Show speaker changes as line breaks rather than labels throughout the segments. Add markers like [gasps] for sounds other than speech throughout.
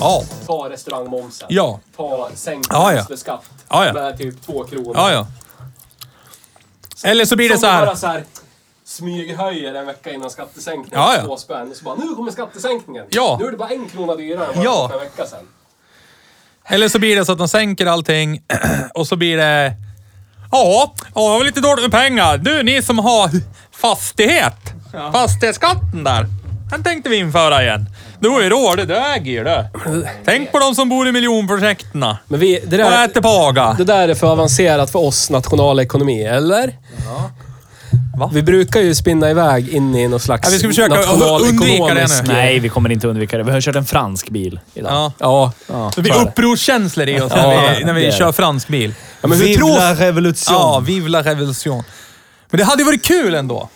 Ja,
Ta restaurangmomsen.
Ja.
Ta sänkt
Ja, ja.
skatt
Ja, ja.
med typ två kronor.
ja, ja. Eller så blir det
Som
så
vi bara
här.
så här smyghöjer en vecka innan skattesänkningen.
Ja, ja.
Två spänn. Och så bara, nu kommer skattesänkningen.
Ja.
Nu är det bara en krona dyrare än vad det
Ja.
var för en vecka sedan.
Eller så blir det så att de sänker allting [clears throat] och så blir det... Ja, ja, jag har lite dåligt med pengar. Du, ni som har fastighet. Fastighetsskatten där. Den tänkte vi införa igen. Du har ju råd, du äger ju det. Tänk på de som bor i miljonprojekten och
Men vi, det, där,
äter paga.
det där är för avancerat för oss nationalekonomi, eller?
Va?
Vi brukar ju spinna iväg in i någon slags
Ja, vi ska försöka undvika det nu.
Nej, vi kommer inte undvika det. Vi har kört en fransk bil idag.
Ja.
Ja.
Så det blir upprorskänslor i oss när vi, när vi
det är
kör fransk bil.
Ja, men hur tror...
revolution.
Ja, vive la revolution. Men det hade ju varit kul ändå.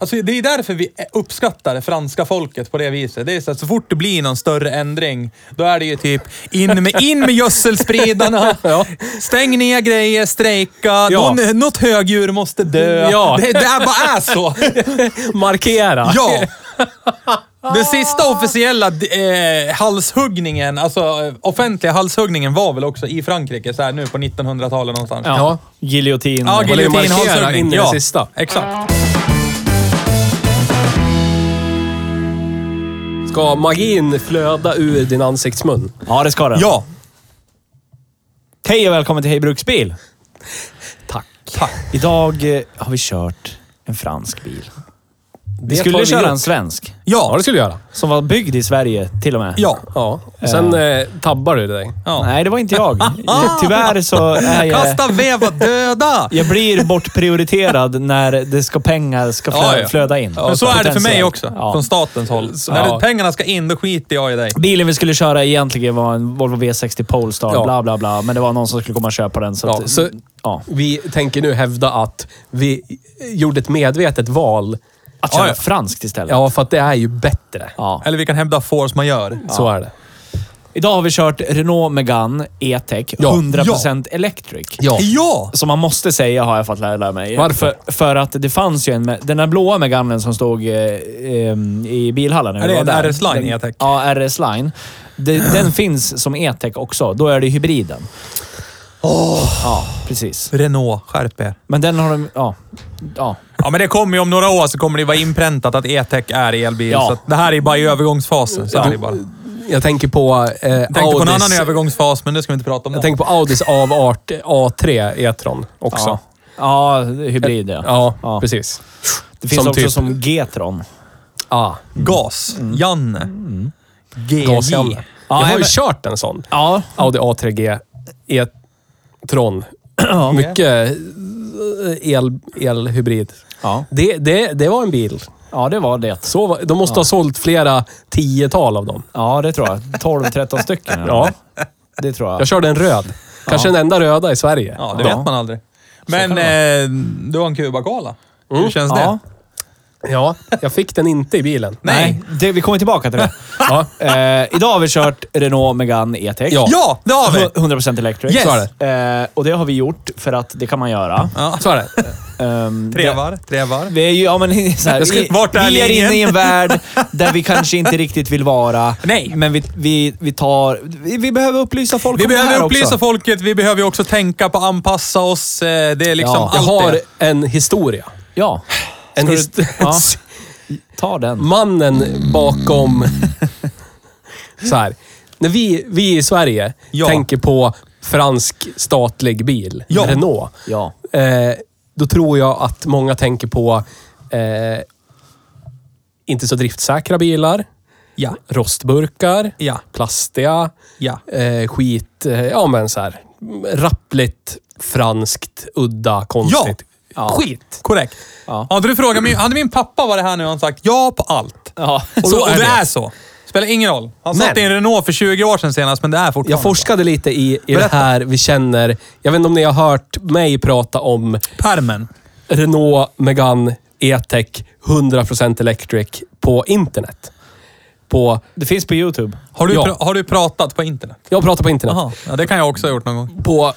Alltså, det är därför vi uppskattar det franska folket på det viset. Det är så, att så fort det blir någon större ändring, då är det ju typ in med, in med
[laughs]
gödselspridarna, stäng ner grejer, strejka,
Ja.
någon, något högdjur måste dö.
Ja.
Det, det här bara är
[laughs]
så.
Markera!
Ja! Den sista officiella eh, halshuggningen, alltså eh, offentliga halshuggningen var väl också i Frankrike, så här nu på 1900-talet någonstans.
Ja. Giljotin.
Ja,
ju
giljotin,
markera
halshuggning.
in i det
ja,
sista.
Exakt.
Ska magin flöda ur din ansiktsmun?
ja, det ska den.
Ja.
Hej och välkommen till Hej Bruksbil!
Tack.
Idag eh, har vi kört en fransk bil. Vi
Det tar
skulle köra
gjort.
en svensk.
Ja,
Ja.
det skulle jag göra.
Som var byggd i Sverige till och med.
Ja.
Ja. Och Sen eh, tabbar du dig.
ja.
Nej, det var
[laughs]
inte jag. Tyvärr så är jag...
Kasta veva döda!
Jag blir bortprioriterad när det ska pengar ska flö
[laughs] Ja, ja.
flöda in.
Men så är det för mig
Potentiellt.
också,
Ja.
från statens håll.
Så-
När
ja.
pengarna ska in, då skiter jag i dig.
Bilen vi skulle köra egentligen var en Volvo V60 Polestar,
Ja.
bla bla bla. Men det var någon som skulle komma och köpa den. Så
Ja,
att,
så-
ja.
Vi tänker nu hävda att vi gjorde ett medvetet val.
Att köra
Ja, ja.
franskt istället.
Ja, för att det är ju bättre.
Ja.
Eller vi kan hävda force majeure.
Så är det.
Idag har vi kört Renault Megane E-Tech,
Ja.
100% electric.
Ja.
Ja!
Som man måste säga har jag fått lära, lära mig.
Varför?
För att det fanns ju en... med- Den där blåa Meganen som stod eh, em, i bilhallen. när vi
Är det
var
en
där.
RS-Line
Den-
E-Tech?
Ja, RS-Line. Den,
[gasps]
den finns som E-Tech också. Då är det hybriden. Ja, precis.
Renault, skärp er.
Men den har de... Ja. Ja.
Ja, men det kommer ju om några år så kommer det vara inpräntat att E-Tech är elbil.
Ja.
Så att det här är bara i övergångsfasen. Så är det bara. Jag
Jag tänker på eh,
tänkte på en
Audis...
annan övergångsfas, men det ska vi inte prata om.
jag
nu.
tänker på Audis avart A3 E-tron också.
Ja, ja hybrid ja.
Ja,
Ja.
precis. Ah,
Det finns
som
också
typ-
som G-tron.
Ja.
Gas. Janne. GJ.
Gasjävlar. Jag
E Ja,
har ju
men-
kört en sån.
Ja.
Audi A3 G E-tron. Mycket eh, el, elhybrid.
Ja.
Det, det, det var en bil.
ja, det var det.
Så, var- de måste ha sålt flera tiotal av dem.
Ja, det tror jag. 12-13 stycken. eller?
Ja.
Det tror jag.
Jag körde en röd. Kanske den enda röda i Sverige.
Ja, det
Ja.
vet man aldrig. Men eh, du har en Cuba-Cola. Hur känns det?
Ja.
Ja, jag fick den inte i bilen.
Nej.
Nej, det, vi kommer tillbaka till det.
Ja.
Eh, idag har vi kört Renault Megane E-Tech.
Ja.
Ja, det har vi!
100% electric.
Yes. Så är
Eh, och det har vi gjort för att det kan man göra.
Ja.
Så är det.
Ehm, det-
Trevar, trevar.
Vi är ju, ja men [laughs] så här,
Jag ska-
vi,
vart är
vi är
linjen?
inne i en värld där vi kanske inte riktigt vill vara.
Nej.
Men vi, vi, vi tar... Vi, vi behöver upplysa folk
Vi
om det här
behöver upplysa
också.
folket, vi behöver ju också tänka på att anpassa oss. eh, Det är liksom
Ja.
allt
Jag har
det.
en historia.
Ja.
En
Ska du-
hist
ja. Ta
[laughs]
den.
Mannen
[laughs]
bakom... Så här. När vi, vi i Sverige
Ja.
tänker på fransk statlig bil,
Ja.
Renault.
Ja.
Eh, då tror jag att många tänker på eh, inte så driftsäkra bilar,
Ja,
rostburkar,
ja,
plastiga,
ja.
eh, skit, eh, ja men så här rappligt, franskt, udda,
Ja!
konstigt. Skit!
Korrekt.
Ja.
Hade du frågat min, hade min pappa varit här nu hade han sagt ja på allt.
Ja.
Och,
Så
och
är
det
det.
är så. Spelar ingen roll. Han
Men-
satt i en Renault för 20 år sedan senast, men det är fortfarande
Jag forskade lite i, i det
Berätta.
här vi känner. Jag vet inte om ni har hört mig prata om
så. Permen.
Renault Megane E-Tech 100% electric på internet. På,
Det finns på YouTube.
Har du,
Ja.
pra, har du pratat på internet?
jag pratar på internet.
Jaha, ja, det kan jag också ha gjort någon gång.
På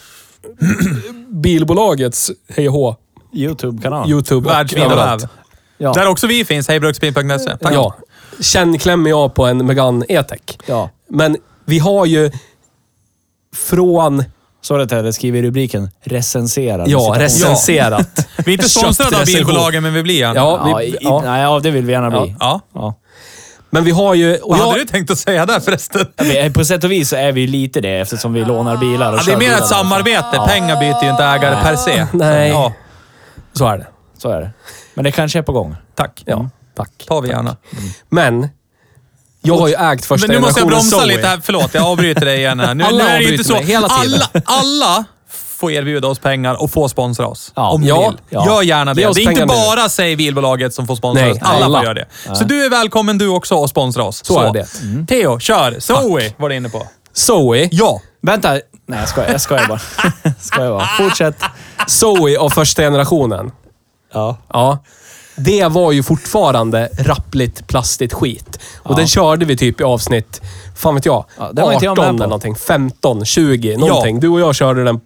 [clears throat] bilbolagets hej och hå,
YouTube-kanal.
Youtube
Världsvid och
överallt.
väv.
Ja.
Där också vi finns, hejbruksbil.se. E. Tack.
Ja. Känn klämmer jag på en Megane E-Tech.
ja.
Men vi har ju från,
Södertälje skriver i rubriken recenserad.
ja,
Citat.
recenserat.
Vi är inte sponsrade av
Köttrecension.
bilbolagen, men vi blir gärna.
Ja.
Ja,
vi-
i-
ja.
Nej, ja, det vill vi gärna bli.
Ja.
Ja.
Men vi har ju... och
Vad
jag-
hade du tänkt att säga där förresten?
Vi- På sätt och vis så är vi ju lite det eftersom vi lånar bilar och
Ja, det är mer
kör bilar.
ett samarbete. Pengar byter ju inte ägare per se.
[laughs] Nej.
Ja,
Så är det.
Så är det. Men det kanske är på gång.
tack.
Ja, tack.
Tar vi gärna.
Men, jag har ju ägt första
Men nu måste jag
generationen
bromsa
Zoe.
lite här. Förlåt, jag avbryter dig igen här. Nu,
Alla
nu är det ju
avbryter
inte så.
mig hela tiden.
Alla, alla får erbjuda oss pengar och få sponsra oss.
Ja.
Om ni
Ja.
vill.
Ja.
Gör gärna
Ge
det.
oss
Det är inte
pengar nu.
bara säg bilbolaget som får sponsra
Nej,
oss. Alla,
alla.
får göra det. Så du är välkommen du också att sponsra oss. Så,
är det. Mm.
Theo, kör. Zoe var du inne på.
Zoe.
Ja.
Vänta. Nej, jag skojar. Jag skojar bara. skojar bara. Fortsätt.
Zoe av första generationen.
Ja.
Ja. Det var ju fortfarande rappligt, plastigt skit. Och den körde vi typ i avsnitt, fan vet jag,
Ja, det var inte jag med
18
på.
eller någonting. 15, 20, någonting. Du och jag körde den...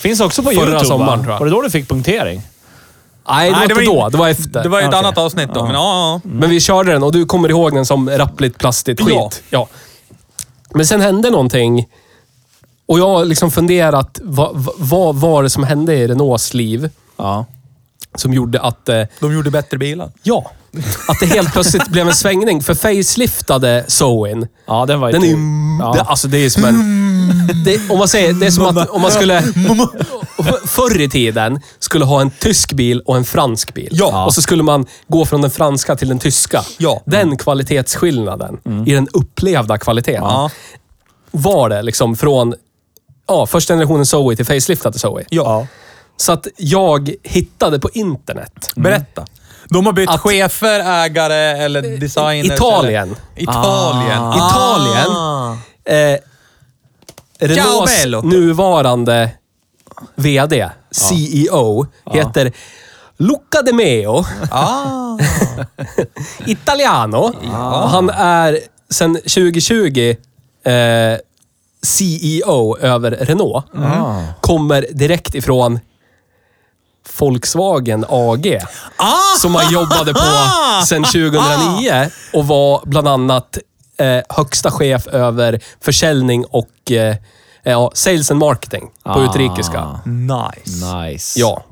Finns också på
Förra
YouTube,
sommaren,
va?
tror jag.
Var det då du fick punktering?
Nej,
Nej, det var
det
inte
var
då.
in-
Det var efter. Mm.
Det var ju ett
Okej.
annat avsnitt då, men ja, ja.
Men vi körde den och du kommer ihåg den som rappligt, plastigt skit.
Ja.
Men sen hände någonting. Och jag har liksom funderat, vad, vad, vad var det som hände i Renaults liv
Ja.
som gjorde att eh,
De gjorde bättre bilar.
Ja. Att det helt plötsligt blev en svängning. För faceliftade Zoen,
Ja, den var ju...
den är ju...
Ja.
Det, alltså det är ju som en...
Mm.
Det, om man säger, det är som att om man skulle...
[laughs]
Förr i tiden skulle ha en tysk bil och en fransk bil.
Ja.
Och så skulle man gå från den franska till den tyska.
Ja. Mm.
Den kvalitetsskillnaden i den upplevda kvaliteten
Ja.
var det liksom från ja, första generationen Zoe till faceliftade Zoe.
Ja.
Så att jag hittade på internet.
Berätta. Mm. De har bytt
Att-
chefer, ägare eller designers.
Italien.
Eller... Italien.
Ah.
Italien. Eh, Renaults
Ah. bello. Ah.
nuvarande VD, CEO, E heter Luca De Meo,
Ah.
[laughs] italiano. Och Han är sedan 2020 eh, CEO över Renault.
Mm. Ah.
Kommer direkt ifrån Volkswagen AG.
Ah.
som han jobbade på
[laughs]
sedan 2009 och var bland annat eh, högsta chef över försäljning och eh, ja, sales and marketing på
Ah.
utrikiska.
Nice.
Nice.
Ja.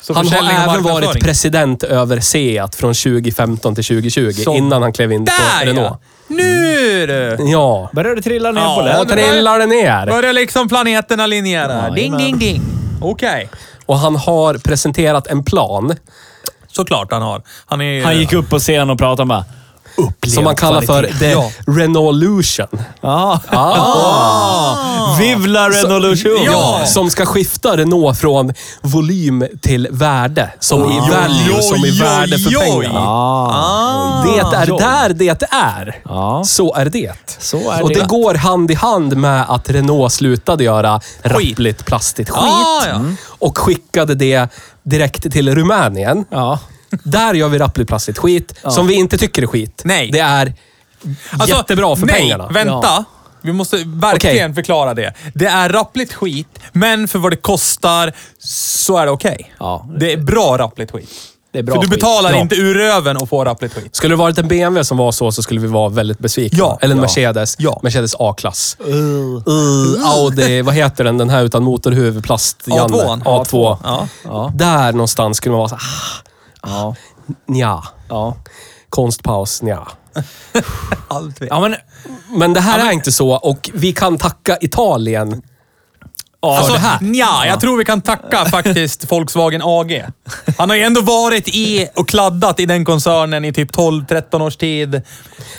Så
Han har
försäljning och
även varit
marknadsföring.
president över SEAT från 2015 till 2020
Så.
innan han klev in
Där
på Renault.
ja! Nu
Mm.
du!
Ja.
Börjar det trilla ner
Ja,
på
ja.
det
län?
trillar det ner.
Börjar liksom planeterna linjera.
Ja,
ding, ding,
jajamän.
ding. Okej.
Och han har presenterat en plan
Såklart han har. Han, är,
Han gick upp på scenen och pratade med... Upplev
som man kallar för
kvalitet. Ah.
The
Ja.
Renaultlution.
Ja. [laughs] Vivla Renaulution.
Alltså, Ja.
Alltså, Som ska skifta Renault från volym till värde. Som i
Oj,
value,
oj,
som i
oj,
värde för
oj.
pengarna.
Ah.
Ah.
Det är
oj.
där det är.
Ja.
Så är det.
Så är
Och det
det.
går hand i hand med att Renault slutade göra rappligt, plastigt skit.
Ah, ja.
Och skickade det direkt till Rumänien.
Ja.
Där gör vi rappligt, plastigt skit, som vi inte tycker är skit.
Nej.
Det är jättebra för
Alltså, nej,
pengarna.
vänta. Vi måste verkligen förklara det. Det är rappligt skit, men för vad det kostar så är det okej.
Ja.
Det är bra rappligt skit.
Det är bra
för du
skit.
betalar
Ja.
inte ur röven och får rappligt skit.
Skulle det varit en BMW som var så, så skulle vi vara väldigt besvikna.
Ja.
Eller en
Ja.
Mercedes.
Ja. Mm.
Mercedes A-klass. Uh, Audi, vad heter den? Den här utan motorhuvud, plast, Janne.
A2.
A2.
Ja.
Där någonstans skulle man vara så här, "Ah,
Ja.
nja.
Ja.
Konstpaus, nja.
Allt vi...
Ja, men
Men det här är inte så och vi kan tacka Italien för
Alltså,
det här.
Nja, jag tror vi kan tacka
[laughs]
faktiskt Volkswagen AG. Han har ju ändå varit i och kladdat i den koncernen i typ 12-13 års tid.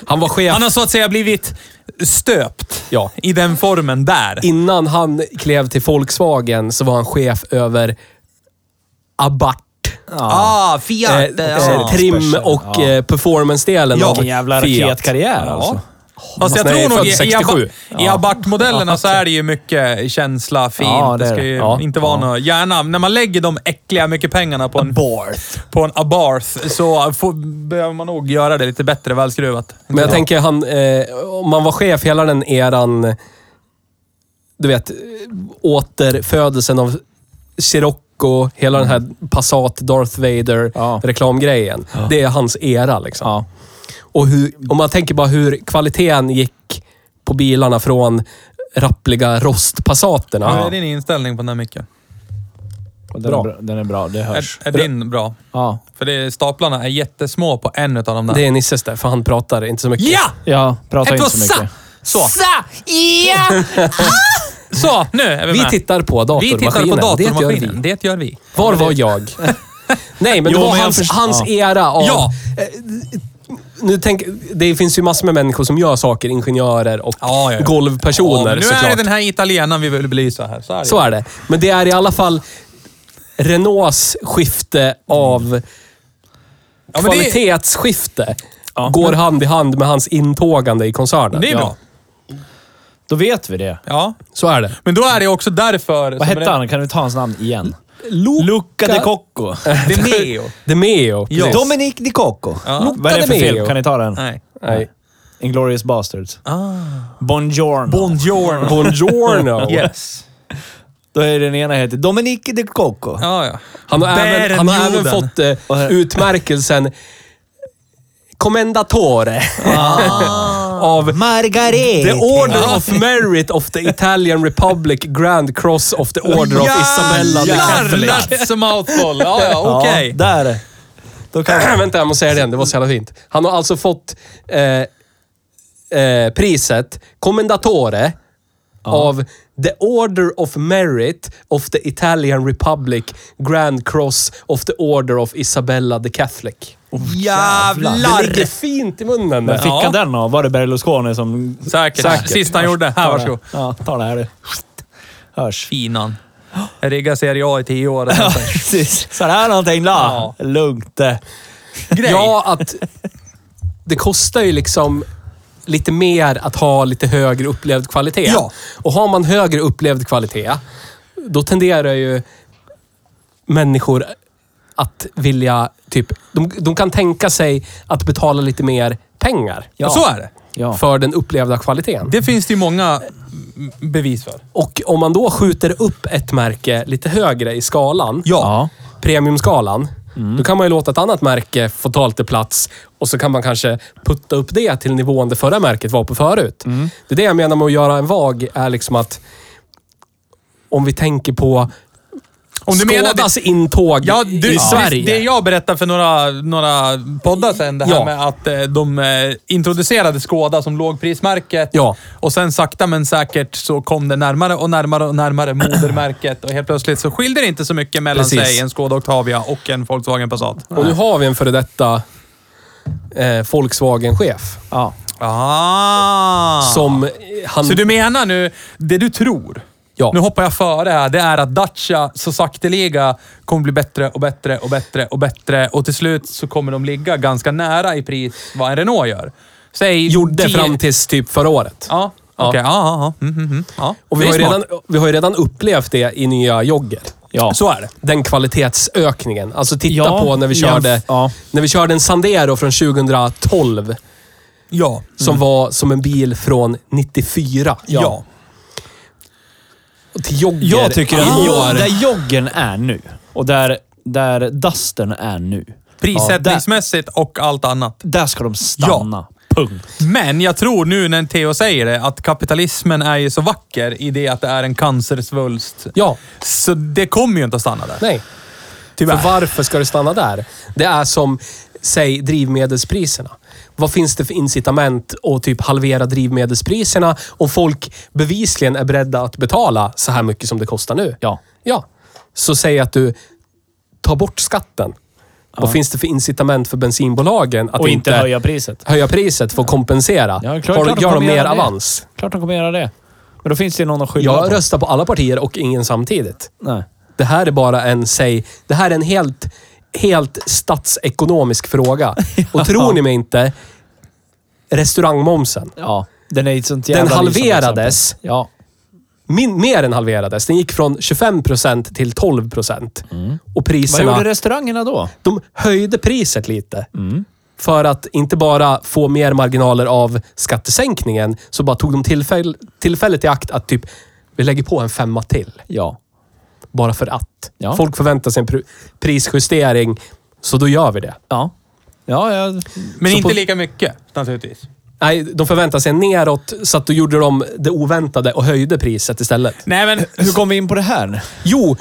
Han var chef
Han har så att säga blivit stöpt
Ja.
i den formen där.
Innan han klev till Volkswagen så var han chef över Abarth.
Ah, Fiat!
eh,
ja.
eh, trim
Special.
och eh, performance-delen
Ja.
av
Vilken
Vilken jävla
Fiat.
raketkarriär alltså.
Fast jag
Fast nej,
tror nog
född
i, i,
67.
Abba- i Abarth-modellerna så är det ju mycket känsla, fint.
Ja, det
det,
är
ska
det.
ju
Ja.
inte vara något. Gärna, när man lägger de äckliga mycket pengarna på en,
Barth.
på en Abarth så får, behöver man nog göra det lite bättre välskruvat.
Men jag tänker, han, eh, om man var chef hela den eran, du vet, återfödelsen av Scirocco, hela den här Passat Darth
Ja.
Vader-reklamgrejen. Det är hans era liksom.
Ja.
Och hur, om man tänker bara hur kvaliteten gick på bilarna från rappliga rostpassaterna.
Vad är din inställning på den här micken?
Den, är
Bra.
bra. den är bra, det
Är,
hörs.
är din bra?
Ja.
För det, staplarna är jättesmå på en av de där.
Det är Nisses där, för han pratar inte så mycket.
Ja!
Ja, prata
Ett
inte
var
så mycket.
sa!
Så.
Sa! Ja! Ah! [laughs] Så, nu är vi,
Vi
med.
tittar på
vi
datormaskinen.
tittar på
Det gör
datormaskinen.
vi.
Det gör vi.
Var var jag? Nej, men
Jo,
det var
men jag
hans,
förstår.
hans era av...
Ja.
Eh, Nu tänk, det finns ju massor med människor som gör saker. Ingenjörer och
Ja, ja, ja. Ja,
golvpersoner
men nu är
såklart.
det den här italienaren vi vill belysa här. Så är det.
Så är det. Men det är i alla fall Renaults skifte av
Mm. Ja, men det,
kvalitetsskifte. Går hand i hand med hans intågande i koncernen.
det är
Ja.
bra.
Då vet vi det.
Ja.
Så är det.
Men då är det också därför...
Vad hette han? Kan du ta hans namn igen?
Luca, [laughs]
[laughs] Cocco.
Det är Neo.
De Meo.
Ja.
precis.
Dominic Di Cocco.
Ja.
Vad är det för
Luca de
film?
Meo.
Kan ni ta den?
Nej.
Nej.
Inglourious Basterds. Ah. Bonjour.
Bonjour. [laughs]
Buongiorno.
Yes.
Då är den ena heter Dominic Di Cocco.
Ja, ja.
Han har, även, han har även
Bärenjorden.
fått eh, utmärkelsen Commendatore
Ah.
[laughs] av The
Margareta.
Order of Merit of the Italian Republic Grand Cross of the Order of Isabella the Catholic.
Jävlar! mouthful. Ja,
[laughs]
ja,
Ja,
okej.
Där. Då
[clears throat]
kan
Vänta, jag måste säga det igen. Det var så jävla fint. Han har alltså fått eh, eh, priset Commendatore av The Order of Merit of the Italian Republic Grand Cross of the Order of Isabella the Catholic. Det ligger
Jävlar!
fint i munnen.
Men fick
Ja.
han den av? Var det Berlusconi som...
Säkert.
Säkert.
Sista han gjorde. Här, varsågod.
Ja, ta det här du. Hörs.
Finan. Jag riggade Serie A i tio år.
Precis. Så det här är någonting då.
Ja.
Lugnt det.
Grej.
Ja, att det kostar ju liksom lite mer att ha lite högre upplevd kvalitet.
Ja.
Och har man högre upplevd kvalitet, då tenderar ju människor att vilja, typ, de, de kan tänka sig att betala lite mer pengar
Ja. Så är det.
Ja.
för den upplevda kvaliteten.
Det finns det ju många mm, bevis för.
Och om man då skjuter upp ett märke lite högre i skalan,
Ja.
premiumskalan,
Mm.
då kan man ju låta ett annat märke få ta lite plats och så kan man kanske putta upp det till nivån det förra märket var på förut.
Mm.
Det är det jag menar med att göra en vag, är liksom att om vi tänker på
Om du menar
Skodas intåg
Ja, du,
i Sverige.
Det jag berättade för några, några poddar sedan, det här
Ja.
med att eh, de eh, introducerade Skoda som lågprismärket.
Ja.
Och sen sakta men säkert så kom det närmare och närmare och närmare modermärket. Och helt plötsligt så skilde det inte så mycket mellan
Precis.
sig en Skoda Octavia och en Volkswagen Passat.
Och nu har vi en före detta eh, Volkswagen-chef.
ja.
Ah.
Som eh, han...
Så du menar nu, det du tror,
Ja.
nu hoppar jag före här, det är att Dacia så sakteliga kommer bli bättre och bättre och bättre och bättre och till slut så kommer de ligga ganska nära i pris vad en Renault gör. Säg...
gjorde
10
fram tills typ förra året.
Ja,
Ja.
okej. Ja, ja, ja. Mm, mm, mm. ja.
Och vi
Det är
har, ju
smart.
redan, vi har ju redan upplevt det i nya jogger.
Ja.
Så är det. Den kvalitetsökningen. Alltså titta
Ja,
på när vi, körde,
jämf- ja.
när vi körde en Sandero från 2012.
Ja.
Som
Mm.
var som en bil från 94.
Ja.
Och till jogger
Jag tycker
i
att
år.
där joggen är nu och där, där dusten är nu,
Prissättningsmässigt och allt annat.
där ska de stanna. Punkt.
Men jag tror nu när Theo säger det, att kapitalismen är ju så vacker i det att det är en cancersvulst.
Ja.
Så det kommer ju inte att stanna där.
Nej. För varför ska det stanna där? Det är som säg drivmedelspriserna. Vad finns det för incitament att typ halvera drivmedelspriserna om folk bevisligen är beredda att betala så här mycket som det kostar nu?
Ja.
Ja. Så säg att du tar bort skatten. Vad finns det för incitament för bensinbolagen att
Och inte höja priset.
höja priset för att kompensera?
Ja, klart-
Har-
klart de
Gör de
kommer
mer
göra det.
avans?
Klart de kommer göra det. Men då finns det ju någon att skylla
Jag
på.
röstar på alla partier och ingen samtidigt.
Nej.
Det här är bara en, säg, det här är en helt, helt statsekonomisk
[laughs]
fråga. Och tror ni mig inte, restaurangmomsen.
Ja. Den är ju ett sånt
Den
jävla
halverades.
lysande exempel. Ja.
Min, mer än halverades. Den gick från 25% till 12%. Och
Mm. Vad
priserna...
gjorde Mm. restaurangerna då?
De höjde priset lite. För att inte bara få mer marginaler av skattesänkningen, så bara tog de tillfäll, tillfället i akt att typ, vi lägger på en femma till.
Ja.
Bara för att.
Ja.
Folk förväntar sig en pr- prisjustering, så då gör vi det.
Ja. Ja, ja.
Men
Så
inte
på-
lika mycket, naturligtvis.
Nej, de förväntar sig neråt, så att då gjorde de det oväntade och höjde priset istället.
Nej, men...
Hur kom vi in på det här?
Jo,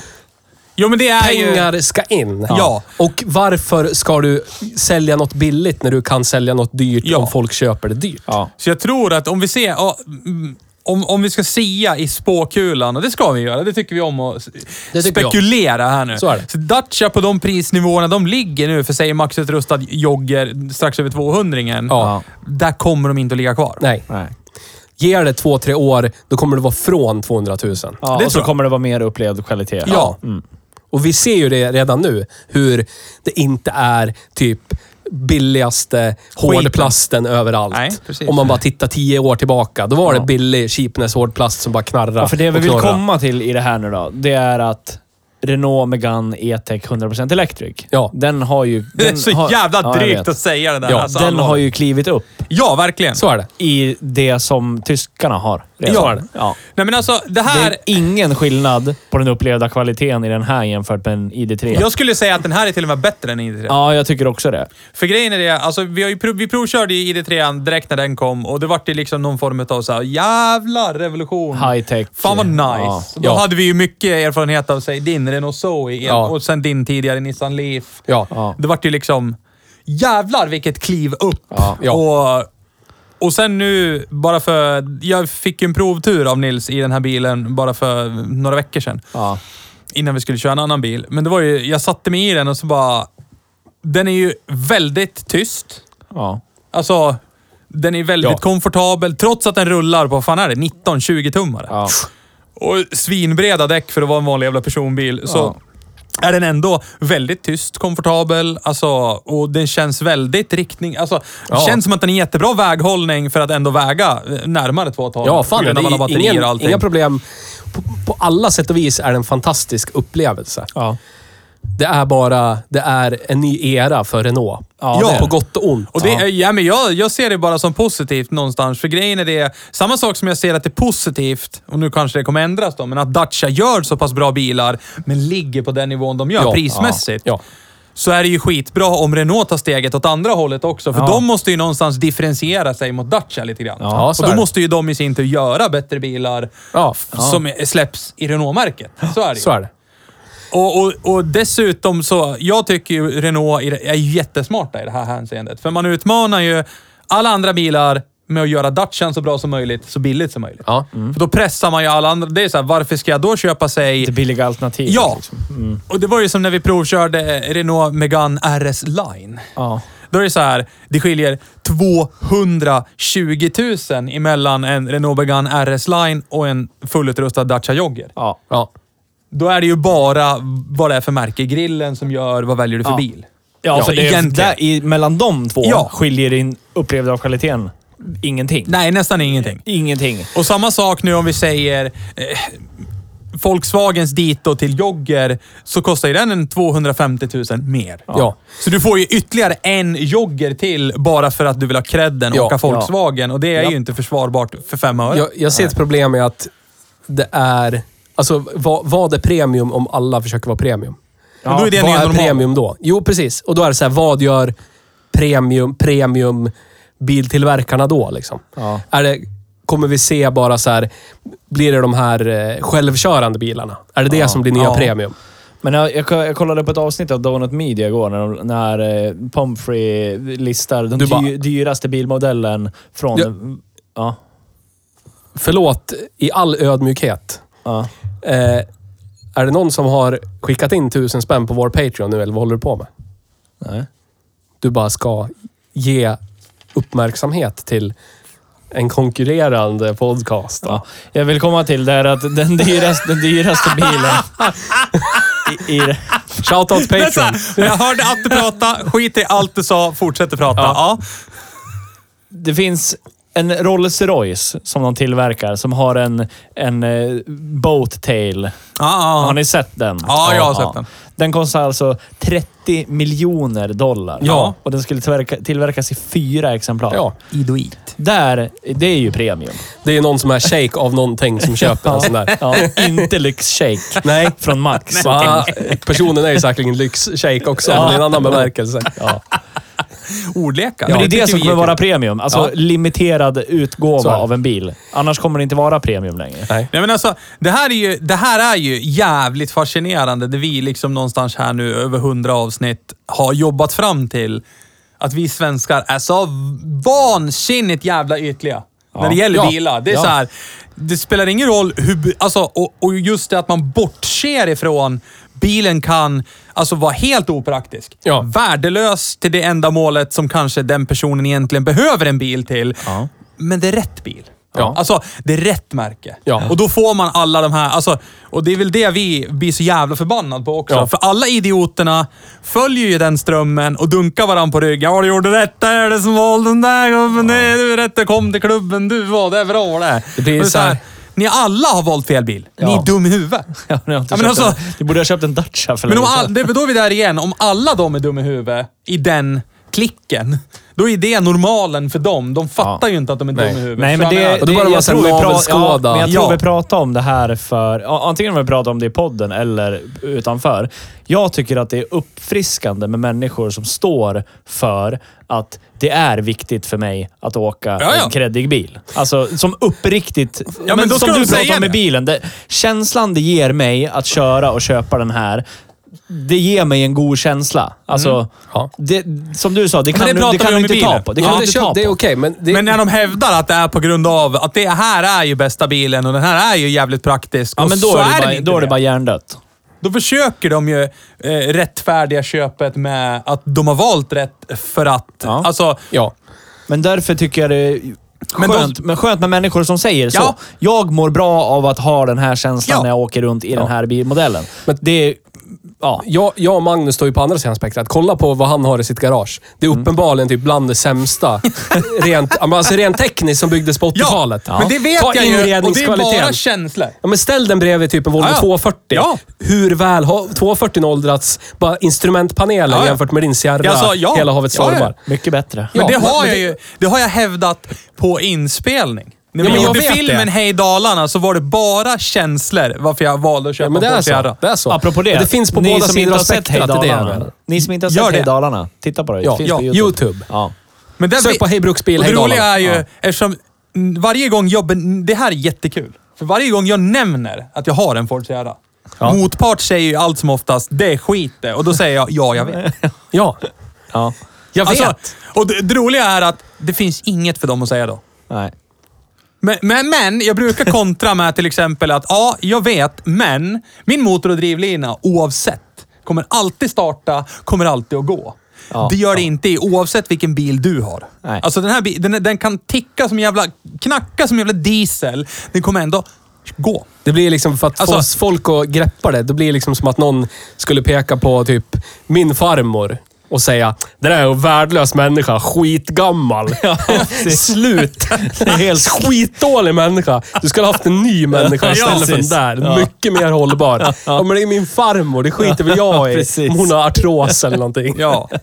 Jo, men det är ju...
pengar ska in.
Ja.
Och varför ska du sälja något billigt när du kan sälja något dyrt
Ja.
om folk köper det dyrt?
Ja.
Så jag tror att om vi ser... ja, mm, Om, om vi ska sia i spåkulan, och det ska vi göra, det tycker vi om att s-
Det tycker vi om.
spekulera här nu.
Så är det.
så Dacia på de prisnivåerna de ligger nu för säg maxutrustad jogger strax över 200
Ja.
Där kommer de inte att ligga kvar.
Nej.
Nej.
Ger det två, tre år, då kommer det vara från 200 000.
Ja,
Det
och så
tror jag.
kommer det vara mer upplevd kvalitet.
Ja. Mm. Och vi ser ju det redan nu, hur det inte är typ billigaste hårdplasten överallt.
Nej, precis.
Om man bara tittar tio år tillbaka, då var det
Ja.
billig cheapness hårdplast som bara knarrade
Ja, för det vi
och
vill
knorrade.
komma till i det här nu då, det är att Renault Megane E-Tech 100% Electric.
Ja.
Den har ju... Den
Det är så
har,
jävla
Ja, jag
drygt
vet.
att säga det där.
Ja,
alltså,
Den har
allvarligt.
ju klivit upp
Ja, verkligen.
Så är det.
i det som tyskarna har. redan.
Ja.
ja.
Nej, men alltså, det
Det
här...
är ingen skillnad på den upplevda kvaliteten i den här jämfört med en ID3.
Jag skulle säga att den här är till och med bättre än ID3.
Ja, jag tycker också det.
För grejen är det, alltså, vi, har ju prov, vi provkörde ju ID3 direkt när den kom och det vart ju liksom någon form av så här, jävla revolution.
High-tech.
Fan vad nice.
Ja.
Då
Ja.
hade vi ju mycket erfarenhet av säg, din Renault Zoe el-
Ja.
och sen din tidigare Nissan Leaf.
Ja.
Ja.
Det vart ju liksom, jävlar vilket kliv upp.
Ja. Ja.
Och, och sen nu, bara för... Jag fick ju en provtur av Nils i den här bilen bara för några veckor sedan
Ja.
innan vi skulle köra en annan bil. Men det var ju, jag satte mig i den och så bara... Den är ju väldigt tyst.
Ja.
Alltså, den är väldigt
Ja.
komfortabel. Trots att den rullar på, vad fan är det, 19-20 tummare.
Ja.
Och svinbreda däck för att vara en vanlig jävla personbil. Så är den ändå väldigt tyst, komfortabel. Alltså, och den känns väldigt riktning... Alltså, det känns som att den är jättebra väghållning för att ändå väga eh, närmare 2,5.
Ja, fan.
På grund av alla
Det är
batterier och
ingen,
allting.
inga problem. På, på alla sätt och vis är det en fantastisk upplevelse.
Ja.
Det är bara, det är en ny era för Renault.
Ja, det är
på
det.
gott och ont.
Och det, ja. men jag, jag ser det bara som positivt någonstans. För grejen är det, samma sak som jag ser att det är positivt, och nu kanske det kommer ändras då, men att Dacia gör så pass bra bilar, men ligger på den nivån de gör
Ja.
prismässigt.
Ja.
Så är det ju skitbra om Renault tar steget åt andra hållet också. För
Ja.
de måste ju någonstans differentiera sig mot Dacia lite grann.
Ja, så
och
är
då
det.
måste ju de i sin tur göra bättre bilar
Ja.
f- som släpps i Renault-märket. Så är det ju.
Så är det.
Och, och, och dessutom så, jag tycker ju Renault i det- är jättesmarta i det här hänseendet. För man utmanar ju alla andra bilar med att göra Dacian så bra som möjligt, så billigt som möjligt. Mm.
Ja.
För då pressar man ju alla andra. Det är så här, varför ska jag då köpa sig...
Det billiga alternativet.
ja!
Liksom.
Och det var ju som när vi provkörde Renault Megane RS Line.
Ja.
Då är det så här, det skiljer 220 000 emellan en Renault Megane RS Line och en fullutrustad Dacia Jogger.
Ja.
Ja.
Då är det ju bara vad det är för märke i grillen som gör vad väljer du för
Ja.
bil.
Ja,
Ja,
för det är
egentligen.
där, i, mellan de två
Ja.
skiljer in upplevda av kvaliteten ingenting.
Nej, nästan ingenting.
Ingenting.
Och samma sak nu om vi säger eh, Volkswagens dito till jogger, så kostar ju den en 250 000 mer.
Ja.
Så du får ju ytterligare en jogger till bara för att du vill ha credden och
Ja,
åka
ja.
Volkswagen. Och det är
Ja.
ju inte försvarbart för fem öre.
Jag, jag ser ett problem med att det är... Alltså, vad, vad är premium om alla försöker vara premium?
Men då är det
vad
nya
är
normal.
premium då? Jo, precis. Och då är det så här, vad gör premium, premium biltillverkarna då? Liksom?
Ja.
Är det, kommer vi se bara så här, blir det de här eh, självkörande bilarna? Är det det som blir nya
Ja.
premium?
Men jag, jag, jag kollade på ett avsnitt av Donut Media igår när, de, när eh, Pomfrey listar den
Du
dy,
bara-
dyraste bilmodellen från... Ja.
Ja. Förlåt i all ödmjukhet.
ja.
Eh, är det någon som har skickat in tusen spänn på vår Patreon nu, eller vad håller du på med?
Nej.
Du bara ska ge uppmärksamhet till en konkurrerande podcast.
Ja. Jag vill komma till det här att den dyraste, den [laughs] dyraste bilen... I, i, det-
[laughs]
Shoutout
Det är så
Patreon.
här, [laughs] Jag hörde att du pratade, skit i allt du sa, fortsätter prata. Ja.
det finns en Rolls Royce som de tillverkar som har en, en eh, boat tail.
Ja,
Har
ja.
ni sett den?
Ja, jag har sett den.
Den kostar alltså 30 miljoner dollar.
Ja.
Och den skulle tillverka, tillverkas i fyra exemplar.
Ja.
Idoit.
Där, det är
[laughs]
ju premium.
Det är någon som är shake av någonting som köper en sån där.
Ja, inte lyxshake
Nej.
[laughs]
från Max.
Va? eh, Personen är ju säkerligen lyxshake också, men i en annan bemärkelse.
Ja.
Ordlekar.
Men det är
Ja,
det
tycker
som
vi
kommer
är kul.
vara premium. Alltså
Ja.
limiterad
Så
utgåva
är det.
av en bil. Annars kommer det inte vara premium längre.
Nej.
Nej, men alltså, det, här är ju, det här är ju jävligt fascinerande. Det vi liksom någonstans här nu, över hundra avsnitt, har jobbat fram till. Att vi svenskar är så vansinnigt jävla ytliga. När det gäller
Ja.
bilar. Det är
Ja.
så här, det spelar ingen roll hur... Alltså, och, och just det att man bortser ifrån bilen kan alltså, vara helt opraktisk.
Ja.
Värdelös till det enda målet som kanske den personen egentligen behöver en bil till.
Ja.
Men det är rätt bil.
Ja.
Alltså, det är rätt märke.
Ja.
Och då får man alla de här, alltså, och det är väl det vi blir så jävla förbannade på också.
Ja.
För alla idioterna följer ju den strömmen och dunkar varandra på ryggen. Ja, du gjorde rätt där, det som valde den där gubben. Det är du rätt, du kom till klubben, du var det är bra det.
Det blir
Och är
så här-
Ni alla har valt fel bil. Ni
Ja.
är dum i huvudet.
[laughs] Ja, ni har inte
Ja, men
köpt
alltså-
en, du borde ha köpt en Dacia för
Men om
länge sedan.
all, det, då är vi där igen. Om alla de är dum i huvudet i den klicken, då är det normalen för dem. De fattar
Ja.
ju inte att de är
Nej.
dum i huvudet.
Nej, men
Förstår ni vad jag
det,
menar?
Och då var det
jag
massa
tror vi pra-
navelskåda.
Ja, men jag tror
Ja.
vi pratade om det här för... ja, Antingen om vi pratade om det i podden eller utanför. Jag tycker att det är uppfriskande med människor som står för att det är viktigt för mig att åka
Ja, ja.
en kreddig bil. Alltså som uppriktigt...
men då ska
som
de
du
säga
pratade om med
det.
bilen. Det, känslan det ger mig att köra och köpa den här, det ger mig en god känsla. Alltså,
Mm.
Ja.
det, som du sa, det kan
det
du, det
pratar vi
kan du
om i
inte ta
bilen.
på. Det
Ja,
kan
men
du
det,
inte
köp,
ta
det är
på.
okej, men... Det,
Men när de hävdar att det är på grund av att det här är ju bästa bilen och den här är ju jävligt praktisk.
Ja,
och
men då
så
är
den
det, bara,
inte
då är det bara hjärndött.
Då försöker de ju eh, rättfärdiga köpet med att de har valt rätt för att...
Ja.
Alltså,
Ja.
Men därför tycker jag det är
Men
skönt, men skönt med människor som säger så.
Ja.
Jag mår bra av att ha den här känslan
Ja.
när jag åker runt i den här bilmodellen. Men det är... Ja.
Jag, jag och Magnus står ju på andra sidan spektrat. Kolla på vad han har i sitt garage. Det
Mm.
är uppenbarligen typ bland
[laughs]
det sämsta. rent, ja, men alltså rent tekniskt som byggdes på 80-talet.
men det vet
Ta
jag ju. Och det är
inredningskvaliteten.
bara känslor.
Ja, men ställ den bredvid typ en Volvo
Ja, ja.
240.
Ja.
Hur väl har 240 åldrats? Bara instrumentpanelen
Ja, ja.
jämfört med din Sierra.
Jag sa ja.
Hela havet
Ja, ja.
stormar.
Mycket bättre.
Men
Ja,
det
men-
har
men
jag
det-
ju det har jag hävdat på inspelning. När
Ja,
vi
men jag
gjorde
vet
filmen
det.
Hej Dalarna så var det bara känslor varför jag valde att köpa
Ja, men det
en
är
Ford
så.
Sierra.
Det är så.
Apropå det.
Men det finns på
ni
båda
som
sidor
inte
av
har sett
spektrat.
Hej
det är det jag
Dalarna.
menar.
Ni som inte har
Gör
sett
det.
Hej Dalarna, titta på det.
Ja,
det finns
ja,
på YouTube.
YouTube.
Ja.
Men där
Sök på Hej Bruksbil,
Och det
Hej
roliga
Dalarna.
är ju,
Ja.
eftersom mm, varje gång jag... ben- Det här är jättekul. För varje gång jag nämner att jag har en Ford Sierra, motpart säger ju allt som oftast det är skit det. Och då säger jag ja,
[laughs]
jag vet. Alltså,
Ja.
Ja.
Jag
Alltså,
vet.
och det, det roliga är att det finns inget för dem att säga då.
Nej.
Men, men, men jag brukar kontra med till exempel att ja, jag vet, men min motor och drivlina oavsett kommer alltid starta, kommer alltid att gå.
Ja,
det gör det inte i oavsett vilken bil du har.
Nej.
Alltså den här bi- den, den kan ticka som jävla, knacka som jävla diesel. Den kommer ändå gå.
Det blir liksom för att
Alltså-
få oss folk att greppa det. Det blir liksom som att någon skulle peka på typ min farmor och säga det där är en värdelös människa, skitgammal. [laughs] Slut!
[laughs] Det är helt
Skitdålig människa. Du skulle ha haft en ny människa istället för den
precis.
där.
Ja.
Mycket mer hållbar. Ja, men det är min farmor, det skiter väl jag i.
precis.
Om hon har artros eller någonting.
Ja. [laughs]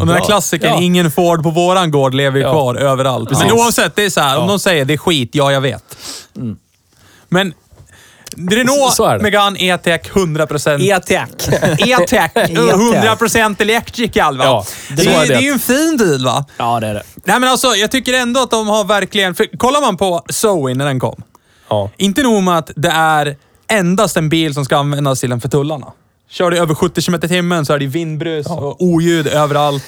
Och den här
Ja.
klassikern,
Ja.
ingen Ford på våran gård lever ju
Ja.
kvar överallt. Men
Precis.
oavsett, det är så här, om någon säger det är skit, ja jag vet. Mm. Men Renault
Så är det. E-
Megane E-Tech 100%.
E-tech.
Mm. [laughs] E-Tech 100% electrical va?
Ja,
det,
så
är,
är
ju-
det.
det är ju en fin bil va?
Ja, det är det.
Nej men alltså, jag tycker ändå att de har verkligen... För, kollar man på Zoe när den kom.
Ja.
Inte nog med att det är endast en bil som ska användas till en för tullarna. Kör du över 70 km i timmen så är det vindbrus och oljud överallt.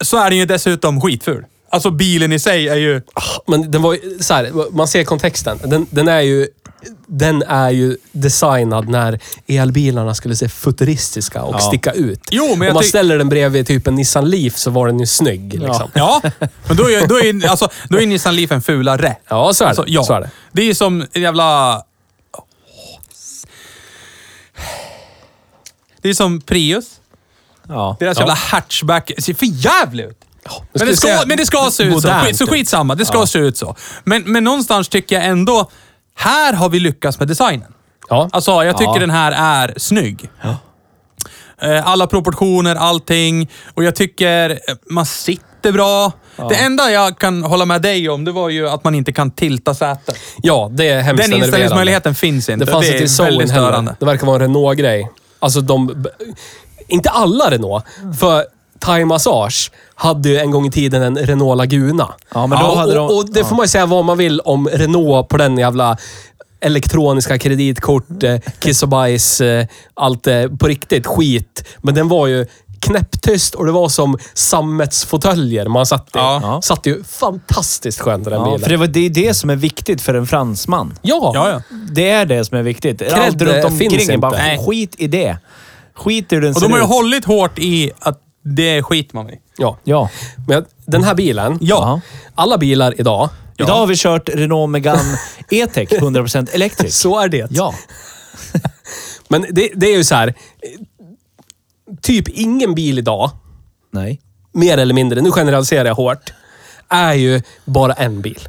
Så är den ju dessutom skitful. Alltså bilen i sig är ju...
Men den var ju så här, man ser kontexten. Den, den är ju... Den är ju designad när elbilarna skulle se futuristiska och sticka ut.
Jo, men jag
Om man
tyck-
ställer den bredvid typ en Nissan Leaf så var den ju snygg. Liksom. Ja.
Ja, men då är ju då är, alltså, då är Nissan Leaf en fulare.
så är det.
Alltså, ja.
Så är det.
det är ju som en jävla... Det är som Prius.
Ja.
Deras jävla hatchback ser för jävligt ut. Men det,
skulle
ska,
säga typ.
men det ska se ut så.
modernt
Skit, så
ut.
skitsamma, det ska se ut så. Men, men någonstans tycker jag ändå, här har vi lyckats med designen.
Ja.
Alltså, jag tycker
Ja.
den här är snygg. Eh, Alla proportioner, allting. Och jag tycker eh, man sitter bra. Det enda jag kan hålla med dig om, det var ju att man inte kan tilta sätet.
ja, det är hemskt
Den
enerverande.
inställningsmöjligheten finns inte.
Det fanns
det
inte i
är
Soul
väldigt
heller.
störande.
Det verkar vara en Renault-grej. Alltså de... Inte alla Renault, för Thai Massage hade ju en gång i tiden en Renault Laguna.
Ja, men då
och,
hade de-
och, och det får man ju säga vad man vill om Renault på den jävla elektroniska kreditkort, eh, kiss och bajs, eh, allt eh, på riktigt skit. Men den var ju knäpptyst och det var som sammetsfåtöljer man satt i.
Ja.
Satt ju fantastiskt skönt i den
Ja,
bilen.
för det, var, det är det som är viktigt för en fransman.
Ja.
Ja, ja.
Det är det som är viktigt. Allt runt omkring
finns
är bara
inte.
Nej. skit i det. Skit i hur den
Och
ser
de har ju
ut.
hållit hårt i att det skiter man i.
ja.
Ja.
Men jag- den här bilen.
Ja.
Alla bilar idag.
Idag har vi kört Renault Megane [laughs] E-Tech 100% elektriskt.
Så är det.
Ja.
Men det, det är ju så här. eh, Typ ingen bil idag,
Nej.
mer eller mindre, nu generaliserar jag hårt, är ju bara en bil.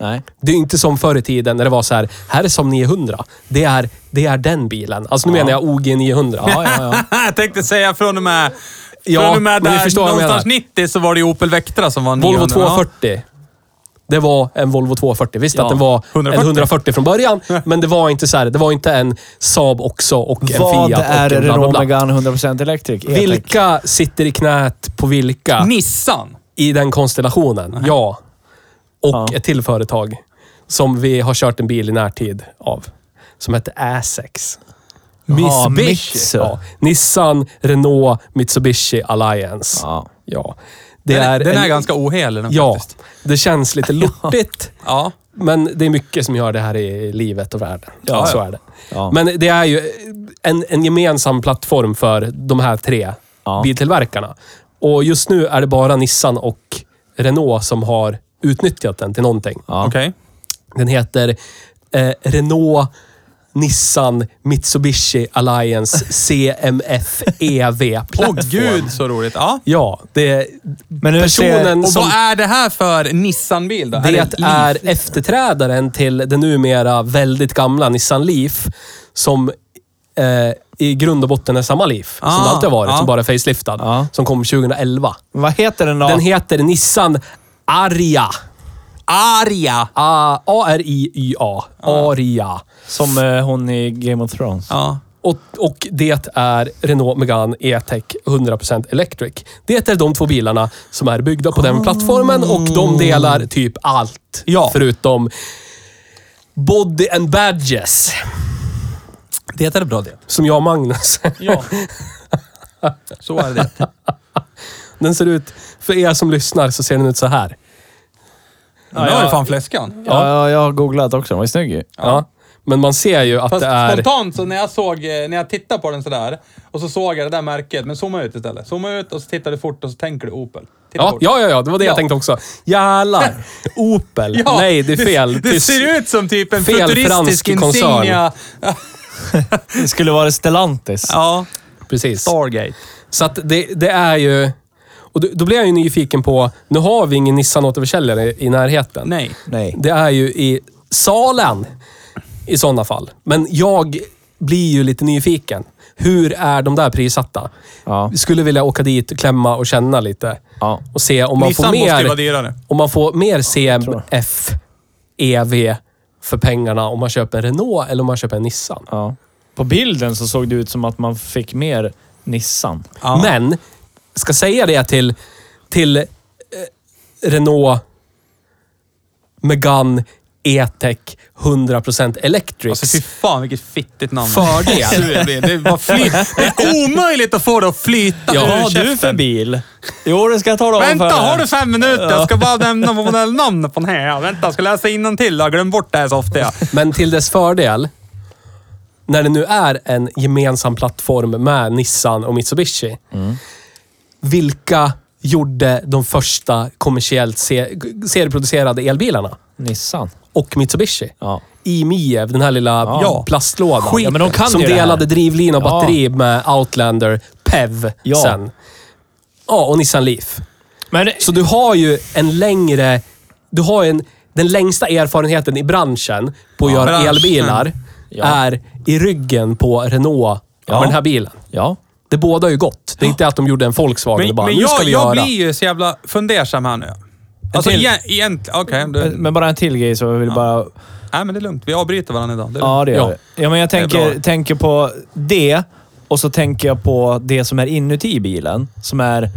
Nej.
Det är ju inte som förr i tiden när det var så här, här är som 900. Det är, det är den bilen. Alltså nu menar jag OG 900.
Ja, ja,
[laughs] jag tänkte säga från och med...
Ja,
från och med
men ni
där,
förstår vad jag
någonstans
menar.
90 så var det ju Opel Vectra som var 900.
[laughs] Volvo
Ja.
240. Det var en Volvo 240. Visst att den var
140.
en 140 från
[laughs]
början, men det var inte så här, det var inte en Saab också och en
ja. Vad
Fiat.
är
och en bla, bla,
Renault
bla.
Megane 100% elektrik? E-Tech.
Vilka sitter i knät på vilka
Nissan.
i den konstellationen? Ja. Och
Ja.
ett till företag som vi har kört en bil i närtid av. Som hette Asex.
Ja,
Mitsu.
Mitsu.
Ja. Nissan, Renault, Mitsubishi Alliance. Ja.
Ja.
Det
Den, är, den
en-
är ganska ohel. Den
Ja,
faktiskt.
det
[laughs]
känns lite lortigt.
Ja.
Men det är mycket som gör det här i livet och världen. Ja,
Ja,
så
ja.
är det.
Ja.
Men det är ju en, en gemensam plattform för de här tre
Ja.
biltillverkarna. Och just nu är det bara Nissan och Renault som har utnyttjat den till någonting.
Ja.
Okej.
Den heter eh, Renault Nissan Mitsubishi Alliance CMF EV
Åh
Platform.
gud så roligt. Ja.
E Ja, det är
Men hur ser...
personen
Och
som...
vad är det här för Nissan-bil då?
Det
ett Leaf?
är efterträdaren till den numera väldigt gamla Nissan Leaf. Som eh, i grund och botten är samma Leaf som
Ah,
det alltid har varit,
ja.
som bara är faceliftad.
Ja.
Som kom 2011.
Vad heter den då?
Ah.
Den heter Nissan Aria.
Aria.
A- A-R-I-Y-A.
Ah.
Aria.
Som eh, hon i Game of Thrones.
Ja.
Och, och det är Renault Megane E-Tech 100% Electric. Det är de två bilarna som är byggda på den plattformen och de delar typ allt.
Oh. Ja.
Förutom body and badges.
Det är bra det.
Som jag och Magnus.
Ja. Så är [laughs] det.
[laughs] Den ser ut, för er som lyssnar så ser den ut så här.
Ja, Nu har ju fan fläskan.
Ja, ja, jag har googlat också. Den var ju snygg ju.
Ja. Men man ser ju att
Fast
det är...
spontant så när jag såg, eh, när jag tittade på den sådär och så såg jag det där märket, men zooma ut istället. Zooma ut och så tittar du fort och så tänker du Opel. Titta
Ja,
fort.
ja, ja, ja, det var det
Ja.
jag tänkte också. Jävlar!
[laughs]
Opel.
Ja,
[laughs] Nej, det är fel.
Det ser ut som typ en
fel fransk
futuristisk
koncern.
insignia.
Det skulle vara Stellantis.
Ja.
Precis.
Stargate.
Så att det, det är ju... Och då, då blir jag ju nyfiken på, nu har vi ingen Nissan återförsäljare i, i närheten.
Nej.
Nej.
Det är ju i salen i sådana fall. Men jag blir ju lite nyfiken. Hur är de där prissatta?
Ja.
Skulle vilja åka dit och klämma och känna lite.
Ja.
Och se om man
Nissan
får
måste ju vara
mer...
dyrare.
Om man får mer CMF EV E för pengarna om man köper en Renault eller om man köper en Nissan.
Ja. På bilden så såg det ut som att man fick mer Nissan.
Ja.
Men, ska säga det till, till eh, Renault Megane E-tech 100% electric.
Alltså fy fan vilket fittigt namn. [laughs]
Fördel.
Sur jag blir. Det, bara fly- det är omöjligt att få det att flyta
Vad
ur
har du
käften.
för bil? Jo, det ska jag tala om
Vänta,
för dig.
har du fem minuter? Jag ska bara
[laughs]
nämna modellnamnet på den här. Ja, Vänta, jag ska läsa innantill. Jag har glömt bort det här så ofta. Ja.
Men till dess fördel, när det nu är en gemensam plattform med Nissan och Mitsubishi.
Mm.
Vilka gjorde de första kommersiellt se- serieproducerade elbilarna?
Nissan.
Och Mitsubishi.
Ja.
I Miev, den här lilla
Ja.
plastlådan.
Skiten. Ja, men de kan
som
ju det här.
delade drivlina och
Ja.
batteri med Outlander PEV
Ja.
sen. Ja, och Nissan Leaf.
Men
Så du har ju en längre... Du har en, den längsta erfarenheten i branschen på att
Ja,
göra
branschen.
elbilar
Ja.
är i ryggen på Renault
Ja.
med den här bilen.
ja.
Det båda ju gott. Det är inte att de gjorde en Volkswagen och
Men,
bara,
men
nu ska
jag,
vi
jag
göra.
blir ju så jävla fundersam här nu. Alltså
till.
egent- egentligen... Okej,
Men-
okay,
Men bara en till grej som jag vill bara...
nej men det är lugnt. Vi avbryter varandra idag. Det är
Ja, det gör
Ja.
vi. Ja, men jag
Det är
tänker,
bra.
tänker på det och så tänker jag på det som är inuti bilen. Som är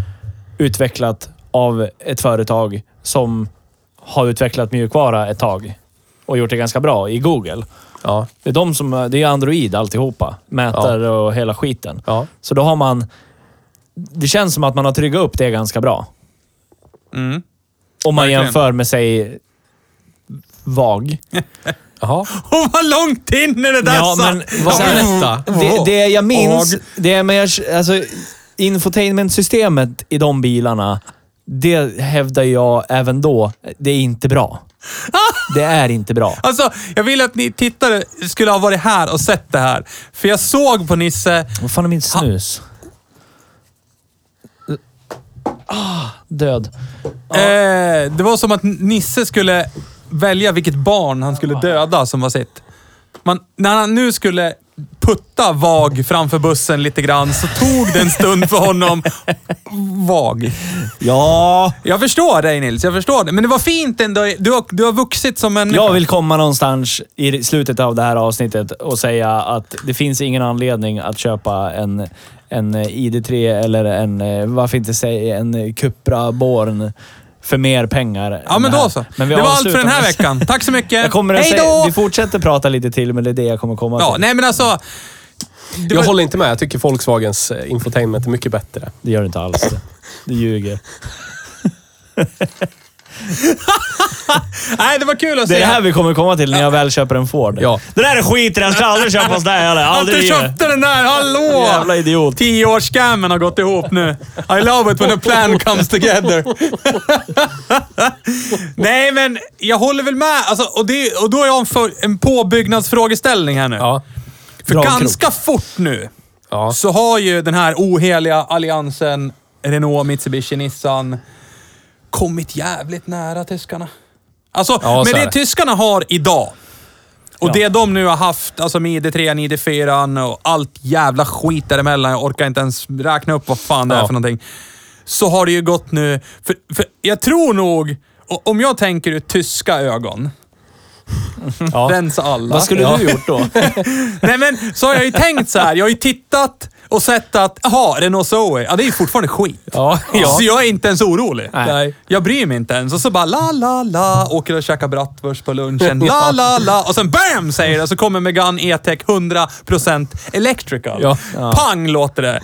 utvecklat av ett företag som har utvecklat mjukvara ett tag och gjort det ganska bra i Google.
Ja.
Det är de som... Det är Android alltihopa. Mätare och hela skiten.
Ja.
Så då har man... Det känns som att man har tryggat upp det ganska bra.
Mm.
Om man
Verkligen.
jämför med, säg, VAG.
Jaha.
Och vad långt in är det där
Ja,
satt!
men vad-
Ja, men-
Berätta.
Det, det jag minns, det är med, alltså, infotainmentsystemet i de bilarna, det hävdar jag även då, det är inte bra. Det är inte bra.
Alltså, jag vill att ni tittare skulle ha varit här och sett det här. För jag såg på Nisse...
Vad fan är min snus? Ah, död.
Eh, det var som att Nisse skulle välja vilket barn han skulle döda som var sitt. Man, när han nu skulle putta Vag framför bussen lite grann så tog det en stund för honom. Vag.
Ja,
Jag förstår dig Nils, jag förstår det. Men det var fint ändå. Du har, du har vuxit som en...
jag vill komma någonstans i slutet av det här avsnittet och säga att det finns ingen anledning att köpa en, en ID3 eller en, eh, varför inte säga en Cupra Born för mer pengar.
Ja,
än
men
här.
då så.
Men vi
det var allt för
avslutar
den här
med-
veckan. Tack så mycket.
[laughs] Jag kommer att
Hej
säga,
då!
vi fortsätter prata lite till, men det är det jag kommer komma
Ja,
till.
nej men alltså.
Jag håller inte med. Jag tycker Volkswagens eh, infotainment är mycket bättre.
Det gör du inte alls. Du ljuger.
Nej, det var kul att
Det
se.
är det här vi kommer komma till när jag väl köper en Ford.
Ja.
Det där är skit jag ska aldrig köpa hos dig heller.
Att
Aldrig
du
i livet.
köpte den där, hallå!
[laughs] Jävla idiot.
Tioårsscammen har gått ihop nu. I love it when a plan
[laughs]
comes together. [laughs] Nej, men jag håller väl med. Alltså, och, det, och då har jag en, för, en påbyggnadsfrågeställning här nu.
Ja.
För
Bra krok.
ganska fort nu
Ja.
så har ju den här oheliga alliansen Renault, Mitsubishi, Nissan kommit jävligt nära tyskarna. Alltså,
Ja, så
med
är
det
det.
tyskarna har idag och
Ja.
det de nu har haft, alltså med ID3, ID4 och allt jävla skit däremellan. Jag orkar inte ens räkna upp vad fan det är
Ja.
för någonting. Så har det ju gått nu, för, för jag tror nog, o- om jag tänker ur tyska ögon, [laughs]
Ja.
rensa alla.
Vad skulle du gjort då?
Nej men, så har jag ju tänkt så här. Jag har ju tittat och sett att, jaha, Renault Zoe, ja det är ju fortfarande skit.
Ja, ja.
[laughs] Så jag är inte ens orolig.
Nej.
Jag bryr mig inte ens. Och så bara la, la, la, åker och käkar bratwurst på
[laughs]
lunchen. La, la, la. Och sen BAM säger det, så kommer Megane E-Tech 100% electrical.
Ja.
Pang låter det.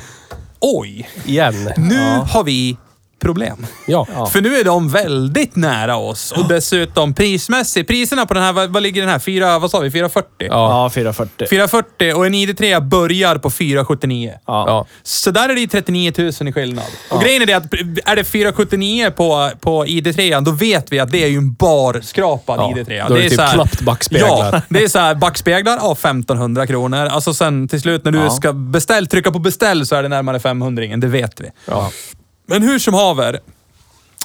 Oj,
Igen.
nu har vi problem.
Ja.
För nu är de väldigt nära oss och dessutom prismässigt. Priserna på den här, vad vad ligger den här? 4, vad sa vi? 440?
Ja, 440.
440 och en ID3 börjar på 479.
Ja.
Så där är det ju 39 000 i skillnad. Och grejen är det att är det 479 på, på ID3, då vet vi att det är ju en barskrapad
Ja,
ID3.
då är det typ
så här-
knappt backspeglar.
Ja, det är så här, backspeglar, ja 1500 kronor. Alltså sen till slut när du
Ja.
ska beställ, trycka på beställ så är det närmare 500 ingen, det vet vi.
Ja.
Men hur som haver,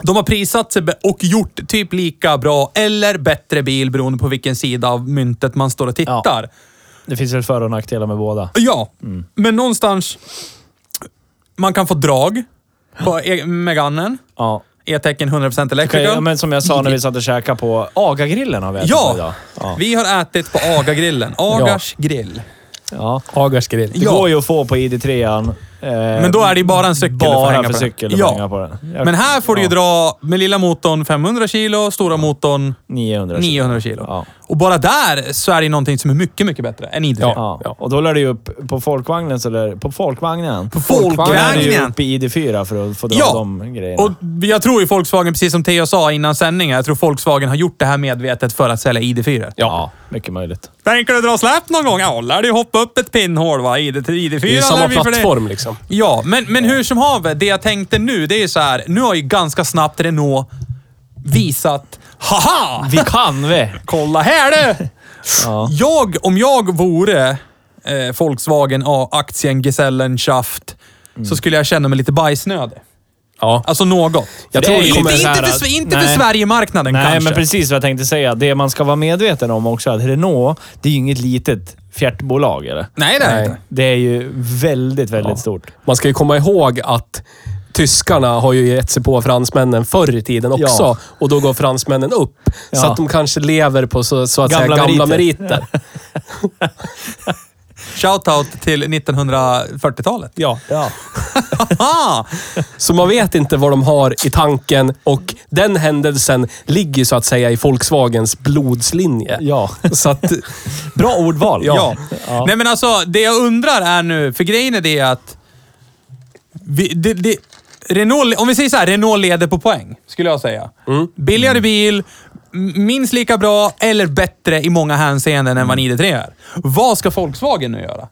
de har prissatt sig be- och gjort typ lika bra eller bättre bil beroende på vilken sida av myntet man står och tittar.
Det finns väl för och nackdelar med båda.
Ja,
Mm.
men någonstans... Man kan få drag på e- Meganen.
Ja.
E-tecken 100%
Okej,
electrical.
ja, men som jag sa när vi satt och käkade på Aga-grillen har vi ätit
Ja!
idag. Ja.
Vi har ätit på Aga-grillen. Agars grill.
ja.
Agars grill.
Det går ju att få på ID3an
Men då är det ju bara en cykel du får hänga
Eh, Bara
på
för
den.
cykel du
Ja.
får hänga på den. Jag-
Men här får du ju
ja,
dra med lilla motorn 500 kilo, stora motorn
900 kilo.
900 kilo.
Ja.
Och bara där så är det ju någonting som är mycket, mycket bättre än ID3.
Ja. Och då lär du ju upp på folkvagnen. Så lär, på folkvagnen. På
folkvagnen.
Då lär du ju upp i ID4 för att få dra
Ja.
de grejerna.
Och jag tror ju Volkswagen, precis som Theo sa innan sändningen, jag tror Volkswagen har gjort det här medvetet för att sälja ID4.
ja. mycket möjligt.
Tänker du dra släp någon gång? Ja, lär du hoppa upp ett pinnhål va? ID, ID4
Det är ju
lär
samma
vi för det.
plattform liksom.
Ja, men, men hur som haver, det jag tänkte nu, det är ju så här. Nu har ju ganska snabbt Renault visat, haha!
Vi [laughs] kan vi!
Kolla här du!
[laughs] Ja.
Jag, om jag vore eh, Volkswagen A-aktien Gesellenschaft,
Mm.
så skulle jag känna mig lite bajsnödig.
Ja.
Alltså något.
Jag
Det
tror
är
det
ju
kommer...
Inte, inte,
så här
för,
att-
Sve- inte för
nej.
Sverigemarknaden
Nej,
kanske.
men precis vad jag tänkte säga. Det man ska vara medveten om också är att Renault, det är ju inget litet fjärtbolag. Eller?
Nej, det är det inte.
Det är ju väldigt, väldigt
Ja.
stort.
Man ska ju komma ihåg att tyskarna har ju gett sig på fransmännen förr i tiden också.
Ja.
Och då går fransmännen upp. Så
Ja.
att de kanske lever på så, så att
Gamla
säga gamla
meriter.
meriter. Ja.
Shoutout till 1940-talet.
[laughs] Ja.
Aha!
Så man vet inte vad de har i tanken och den händelsen ligger så att säga i Volkswagens blodslinje.
[laughs]
ja.
[laughs] Så att,
Bra ordval.
Ja.
Ja.
Nej men alltså, det jag undrar är nu, för grejen är det att... Vi, det, det, Renault, om vi säger så här, Renault leder på poäng, skulle jag säga. Billigare bil, m- minst lika bra eller bättre i många hänseenden än vad en ID3 är. Vad ska Volkswagen nu göra?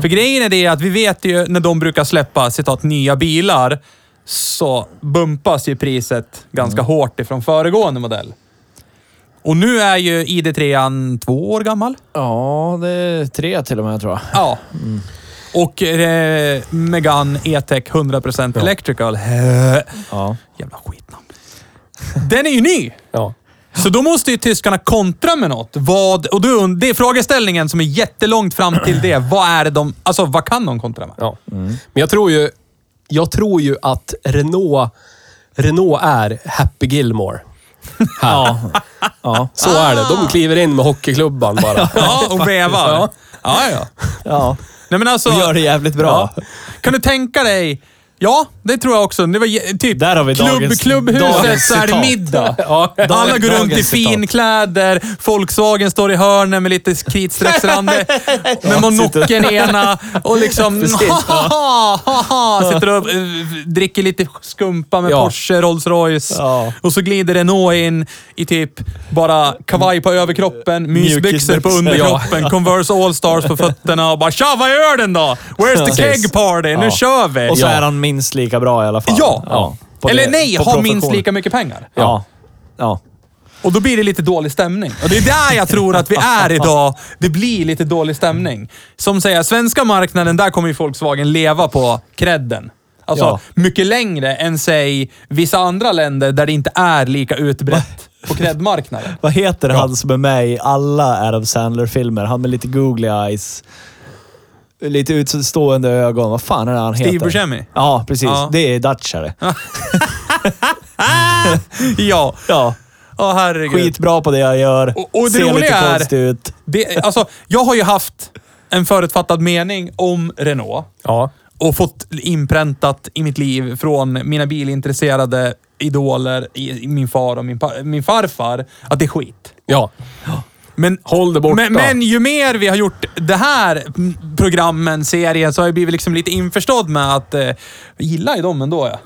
För grejen är det att vi vet ju när de brukar släppa citat, nya bilar så bumpas ju priset ganska hårt ifrån föregående modell. Och nu är ju ID3 två år gammal.
ja, det är tre till och med tror jag.
Ja. Och eh, Megan E-Tech 100% Electrical. Hä?
Ja.
Jävla skitnamn. Den är ju ny!
ja.
Så då måste ju tyskarna kontra med något. Vad, och då, und- det är frågeställningen som är jättelångt fram till det. Vad är det de... Alltså, vad kan de kontra med?
Ja. Men jag tror ju, jag tror ju att Renault, Renault är Happy Gilmore.
Ja. ja.
Så är det. De kliver in med hockeyklubban bara.
Ah. Ja, och vevar. Ja, ja.
ja.
Nej, men alltså,
Och gör det jävligt bra.
Kan du tänka dig... Ja, det tror jag också. Det var je- typ
Där har vi
klubb,
dagens-
klubbhuset
dagens
så är det
citat. [laughs]
middag.
Ja.
Alla går runt i
dagens citat.
finkläder, Volkswagen står i hörnen med lite
[laughs]
kritstrecksrande, med monocken i ena och
[laughs]
liksom...
Precis, ja.
[laughs] ha, ha, ha, sitter och eh, dricker lite skumpa med
Ja.
Porsche, Rolls Royce.
Ja.
Och så glider Renault in i typ bara kavaj på överkroppen, mysbyxor på
Mjukisbyxor.
underkroppen, Converse All-Stars på fötterna och bara “Tja, vad gör den då? Where's the
Precis.
keg party? Nu
Ja.
kör vi!”
Och så
Ja.
är han minst lika bra i alla fall.
Ja.
På
Eller
det-
nej,
på
ha minst
profession.
lika mycket pengar.
Ja. ja.
Och då blir det lite dålig stämning. Och det är där jag tror att vi är idag. Det blir lite dålig stämning. Som säger, svenska marknaden, där kommer ju Volkswagen leva på credden. Alltså,
Ja.
mycket längre än säg vissa andra länder där det inte är lika utbrett på credmarknaden.
Vad heter han som är med i alla Adam Sandler-filmer? Han med lite googly eyes. Lite utstående ögon. Vad fan är det han heter?
Steve Buscemi?
Ja, precis.
Ja.
Det är Dutchare.
Ja,
[laughs] Ja.
åh herregud.
Skitbra på det jag gör.
Och- och det
Ser lite
roliga är-
konstigt ut.
Det, alltså, jag har ju haft en förutfattad mening om Renault.
Ja.
och fått inpräntat i mitt liv från mina bilintresserade idoler, i, i min far och min, pa- min farfar, att det är skit.
ja.
Men,
Håll det borta.
men, men ju mer vi har gjort det här mm, programmen, serien, så har jag blivit liksom lite införstådd med att eh, jag gillar ju dem ändå. Ja.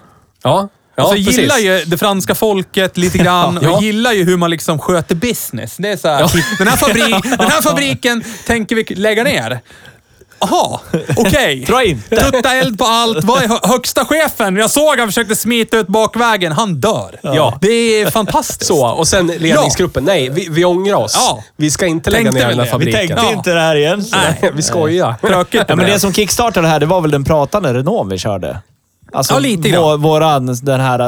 Ja, ja
alltså, jag
precis.
gillar ju det franska folket
[laughs]
lite grann
Ja.
och jag gillar ju hur man liksom sköter business. Det är så här, typ, den, här
[laughs]
fabri- den här fabriken tänker vi lägga ner.
[laughs]
Jaha, okej.
Dra inte.
Tutta eld på allt. Vad är hö- högsta chefen? Jag såg han försökte smita ut bakvägen. Han dör.
Ja.
Det är fantastiskt.
Så, och sen ledningsgruppen. Nej, vi, vi ångrar oss.
Ja.
Vi ska inte lägga
Tänkte
ner
väl
den här
det. Vi
fabriken.
Vi tänkte
Ja.
inte det här igen.
[laughs] Nej,
[laughs]
vi skojar.
Tråkigt.
Ja, men
det
det som kickstartade det här, det var väl den pratande Renault vi körde? Alltså,
Ja, lite grann.
vår- våran, den här,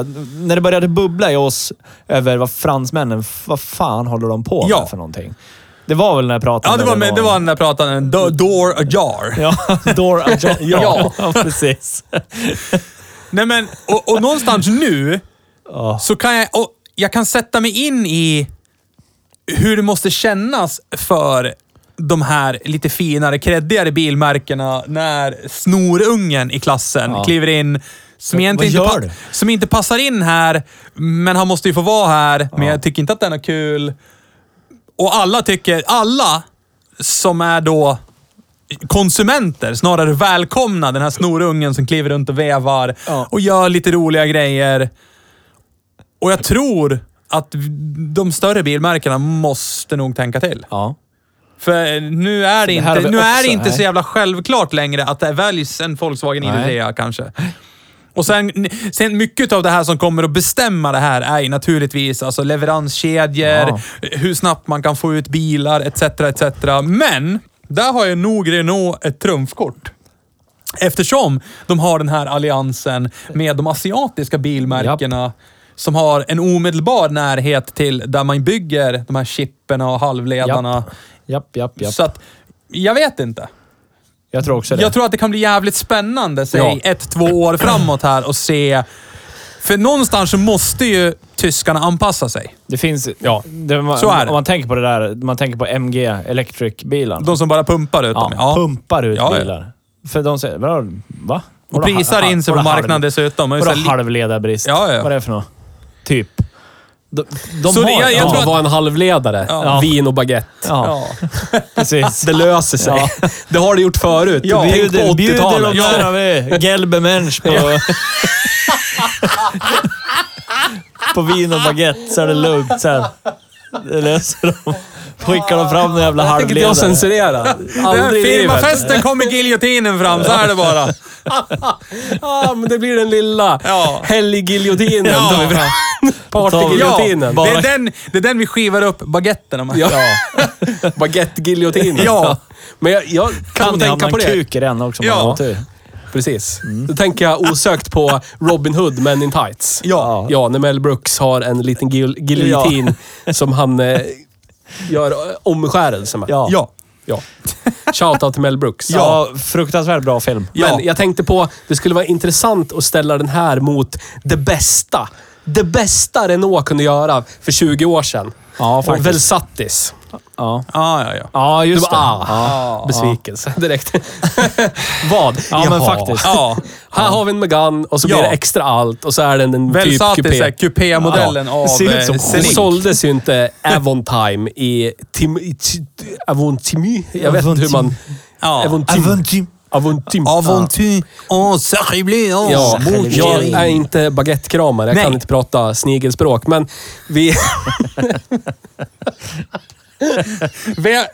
när det började bubbla i oss över vad fransmännen, vad fan håller de på med
Ja.
för någonting? Det var väl den här
ja,
pratande
det var, med, det var den där pratan. The door ajar. [laughs]
Ja, door ajar. [laughs] Ja, precis.
Nej, men, och, och någonstans nu
Ja.
så kan jag, och jag kan sätta mig in i hur det måste kännas för de här lite finare, kreddigare bilmärkena när snorungen i klassen kliver in som, egentligen
vad
inte,
gör
pa- som inte passar in här, men han måste ju få vara här. Men jag tycker inte att den är kul. Och alla tycker, alla som är då konsumenter snarare välkomna den här snorungen som kliver runt och vevar och gör lite roliga grejer. Och jag tror att de större bilmärkena måste nog tänka till.
Ja.
För eh, nu är det,
det här har
inte,
vi
nu är
också,
det inte
nej.
så jävla självklart längre att det väljs en Volkswagen
Nej.
ID3 kanske. Och sen, sen mycket av det här som kommer att bestämma det här är ju naturligtvis alltså leveranskedjor,
Ja.
hur snabbt man kan få ut bilar etc. etc. Men där har ju nog Renault ett trumfkort. Eftersom de har den här alliansen med de asiatiska bilmärkena som har en omedelbar närhet till där man bygger de här chipperna och halvledarna.
Japp, japp, japp.
Så att, jag vet inte.
Jag tror också det.
Jag tror att det kan bli jävligt spännande, säg ett, två år framåt här och se. För någonstans så måste ju tyskarna anpassa sig.
Det finns... Ja, det, man,
Så är det.
Om man tänker på det där, man tänker på MG, Electric-bilen.
De som bara pumpar ut
ja,
dem. Ja.
Pumpar ut
Ja, ja.
bilar. För de säger, vadå, va?
Och
Vadå
prisar
ha-
in sig på
vadå
marknaden
halv-
dessutom. Och så
Vadå
här li-
halvledarbrist?
Ja, ja.
Vad är det för något? Typ. De, de
Så
har,
det- jag- jag
ja,
tror att-
var en halvledare.
Ja.
Vin och baguette.
ja,
ja.
precis.
Det löser sig. [laughs] Det har det gjort förut.
Ja.
Tänk
Bjuder,
på
bjuder
80-talet.
de där har vi gelbe människor på... [laughs] på vin och baguette så är det lugnt sen. Det löser de. Skickar de fram den jävla
Tänk att jag [laughs]
halvledaren.
censurerar.
Den här
Aldrig i livet.
firmafesten kommer giljotinen fram, så är det bara.
Ja, men det blir den lilla
Ja.
helggiljotinen.
Ja.
Ja. Partygiljotinen.
det, är den, det är den vi skivar upp baguetterna med.
Ja. Baguette-giljotinen.
Ja.
Men jag, jag kan
Kan ni hamna
tänka på
en
det.
kuk i den också om
Ja.
man har tur?
Precis. Då tänker jag osökt på Robin Hood, Men in Tights.
Ja.
Ja, när Mel Brooks har en liten gil- giljotin som han eh, gör eh, omskärelse med.
Ja.
Ja.
ja. [laughs] Shoutout till Mel Brooks.
Ja, fruktansvärt bra film.
Men
Ja.
jag tänkte på, det skulle vara intressant att ställa den här mot det bästa. Det bästa Renault kunde göra för 20 år sedan.
Ja,
Och
faktiskt.
Velsattis.
Ja,
Ah, ja, ja.
ja
Du
just
bara,
det.
ah,
[laughs]
besvikelse [laughs] direkt. Vad?
Ja, men
Jaha.
faktiskt.
Ja.
Här har vi en Megane och så blir
Ja.
det extra allt och så är den en typ
Velsatis är
kupé.
kupémodellen
Ja.
av
Det ser ut
eh,
som-
Det
Scenic.
såldes ju inte Avontime i Tim... i Ti- Avontimy? Jag vet inte hur man...
Ja.
Avontime. Avontime.
Aventur en cercle, en
Ja,
boucherie.
jag är inte baguettekramare. Jag
Nej.
kan inte prata snigelspråk, men vi...
Vi,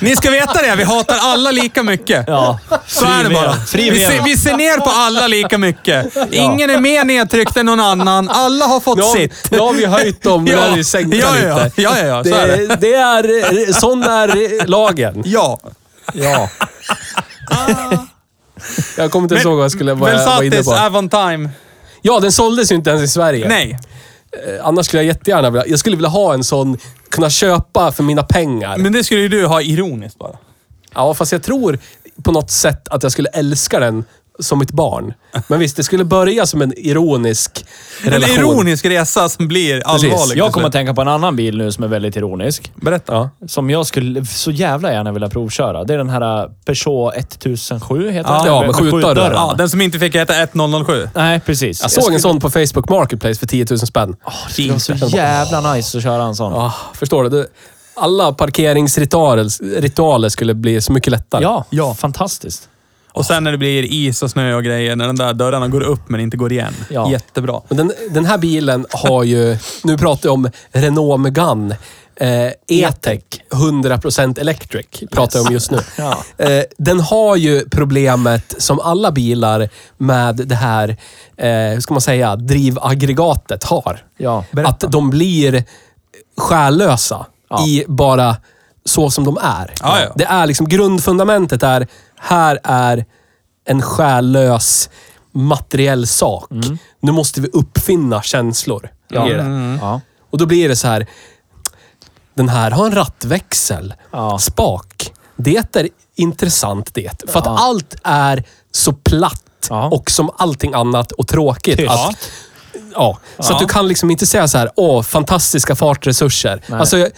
ni ska veta det, vi hatar alla lika mycket.
Ja.
Så är det bara.
Fri
Vi ser,
vilja.
vi ser ner på alla lika mycket. Ingen är mer nedtryckt än någon annan. Alla har fått
Nu har,
[laughs] sitt.
nu har vi höjt dem, nu
Ja.
har vi sänkt dem
Ja, ja,
lite.
ja, ja, ja, så är
det, det är... Sån är lagen.
Ja. [laughs]
Ja.
Ah.
Jag kommer inte ens ihåg vad jag skulle vara var inne
Velsatis,
på.
Avantime.
Ja, den såldes ju inte ens i Sverige.
ah. Nej.
Eh, Annars skulle jag jättegärna vilja... Jag skulle vilja ha en sån, kunna köpa för mina pengar.
Men det skulle ju du ha ironiskt bara.
Ja, fast jag tror på något sätt att jag skulle älska den som ett barn. Men visst, det skulle börja som en ironisk
En
relation.
ironisk resa som blir
liksom.
allvarlig.
Jag kommer att tänka på en annan bil nu som är väldigt ironisk.
Berätta.
Ja.
Som jag skulle så jävla gärna vilja provköra. Det är den här eh, Peugeot 1007, heter
Ja,
den?
med skjutdörrar.
skjutdörrar.
Ja, den som inte fick heta 1007.
Nej, precis.
Jag såg en sån på Facebook Marketplace för 10 000 spänn.
Ah.
Det var så jävla nice att köra en sån.
Ah, förstår du? Det- Alla parkeringsritualer ritualer skulle bli så mycket lättare.
Ja, ja, fantastiskt.
Och sen när det blir is och snö och grejer, när de där dörrarna går upp men inte går igen.
Ja.
Jättebra.
Men den, den här bilen har ju... Nu pratar jag om Renault Megane. Eh, E-Tech 100% Electric pratar jag om just nu.
Ja.
Eh, den har ju problemet, som alla bilar, med det här, eh, hur ska man säga, drivaggregatet har.
Ja,
att de blir själlösa
Ja.
i bara så som de är.
Ja, ja.
Det är liksom grundfundamentet är, här är en själlös materiell sak. Nu måste vi uppfinna känslor.
Ja. Mm.
i det.
Ja.
Och då blir det så här. Den här har en rattväxel.
Ja.
Spak. Det är intressant det. För att allt är så platt
Ja.
och som allting annat och tråkigt.
Tyst.
Att, ja. Så
Ja.
att du kan liksom inte säga så här, åh, fantastiska fartresurser. Alltså, jag-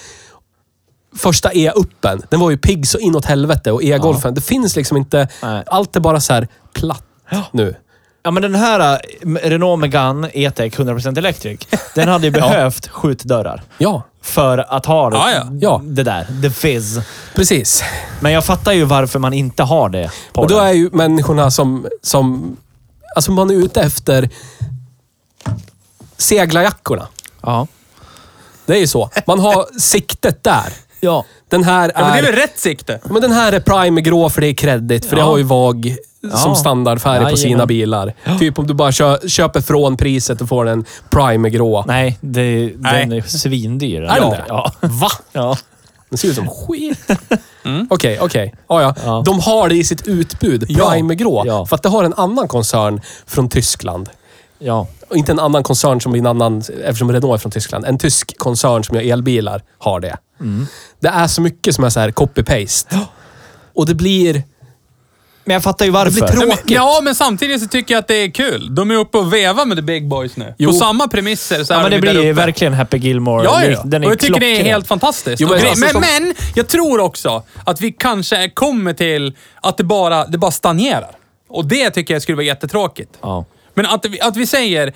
första E-uppen, den var ju pigg så inåt helvete och E-golfen, det finns liksom inte...
Nej.
Allt är bara så här platt nu.
Ja, men den här eh, Renault Megane E-Tech 100% Electric,
[laughs]
den hade ju behövt skjutdörrar.
Ja,
För att ha
Ja, ja.
Ja.
det där. The fizz.
precis.
Men jag fattar ju varför man inte har det på
Och då
den.
är ju människorna som... som alltså man är ute efter seglarjackorna.
Ja.
Det är ju så. Man
[laughs]
har siktet där.
ja.
Den här
Ja, men det är
är...
väl rätt sikte?
Men den här är prime grå för det är credit, för det
Ja.
har ju VAG som
Ja.
standardfärg på sina
Jajamän.
bilar. Typ om du bara kö- köper från priset och får den prime grå.
Nej, det,
Nej.
den är svindyr.
Är den
ja.
det?
Ja.
Va?
ja.
Den ser ut som skit.
[laughs]
Okej, okej. Ja, ja.
Mm. Ja.
De har det i sitt utbud,
Ja.
prime grå.
Ja.
För att det har en annan koncern från Tyskland.
ja.
Och inte en annan koncern som en annan, eftersom Renault är från Tyskland. En tysk koncern som gör elbilar har det. Det är så mycket som är så här copy-paste. Och det blir...
Men jag fattar ju
Det blir
varför.
tråkigt.
Nej, men, ja, men samtidigt så tycker jag att det är kul. De är uppe och vevar med the big boys nu.
Jo.
På samma premisser så
Ja,
är
men
de
det
där
blir ju
uppe.
verkligen Happy Gilmore.
Ja, ja.
Lik- Den är
och jag tycker det är
klockren.
helt fantastiskt.
Jo, men
men,
alltså,
men,
som-
men jag tror också att vi kanske kommer till att det bara, det bara stagnerar. Och det tycker jag skulle vara jättetråkigt.
Ja.
Men att, vi- att vi säger...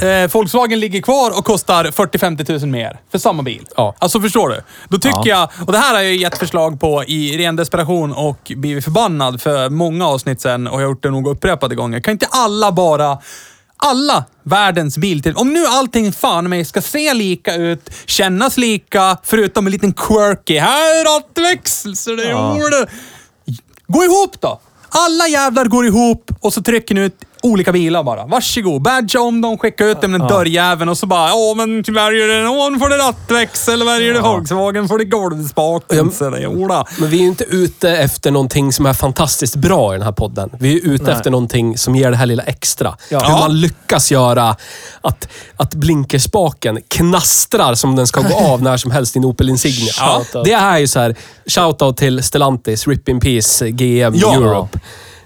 Eh, Volkswagen ligger kvar och kostar 40-50 000 mer för samma bil.
Ja.
Alltså förstår du? Då tycker jag, och det här har jag gett förslag på i ren desperation och blivit förbannad för många avsnitt sen och jag har gjort det nog upprepade gånger. Kan inte alla bara alla världens biltill. Om nu allting fan mig ska se lika ut, kännas lika, förutom en liten quirky. Här är rattväxel, så det
Ja.
gjorde... Gå ihop då! Alla jävlar går ihop och så trycker ni ut olika bilar bara. Varsågod, badga om dem, skicka ut dem med en dörrjäveln och så bara åh men väljer du någon får du rattväxel, väljer du Volkswagen får du golvspak. Så det gjorde.
Men vi är ju inte ute efter någonting som är fantastiskt bra i den här podden. Vi är ute
Nej.
efter någonting som ger det här lilla extra.
Ja.
Hur
Ja.
man lyckas göra att, att blinkerspaken knastrar som den
[laughs]
ska gå av när som helst i en Opel Insignia.
Ja.
Det här är ju så här, shoutout till Stellantis, RIP in Peace, GM
Ja.
Europe.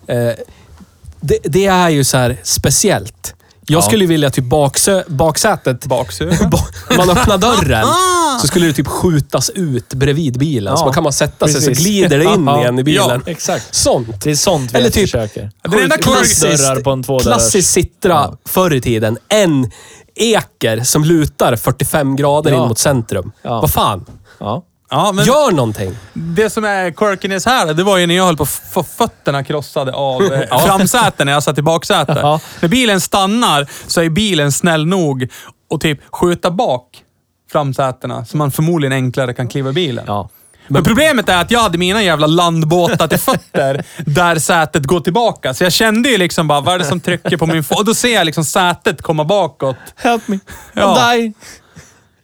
Eh, det, det är ju så här speciellt. Jag skulle vilja typ baksö, baksätet...
[laughs]
Baksug.
[laughs] Om man öppnar dörren så skulle det typ skjutas ut bredvid bilen. Så
Ja,
man kan man sätta sig så
precis.
glider det in
[laughs] Ja,
igen i bilen.
ja, exakt.
Sånt.
Det är sånt vi
Eller typ-
försöker.
Den enda
Skjut-
quirk-
skjutdörrar på en tvådörrars.
Klassiskt Citra förr i tiden. En eker som lutar 45 grader
Ja.
in mot centrum.
Ja.
Vad fan?
Ja.
Ja, men
Gör någonting.
det som är quirkiness här, det var ju när jag höll på att få fötterna krossade av
[laughs]
eh, framsätet när jag satt i baksätet.
Ja.
När bilen stannar så är bilen snäll nog och typ skjuta bak framsätena så man förmodligen enklare kan kliva i bilen.
Ja.
Men problemet är att jag hade mina jävla landbåtar till
[laughs]
fötter där sätet går tillbaka. Så jag kände ju liksom bara, vad är det som trycker på min fot? Och då ser jag liksom sätet komma bakåt.
Help me.
Ja.
I'm dying.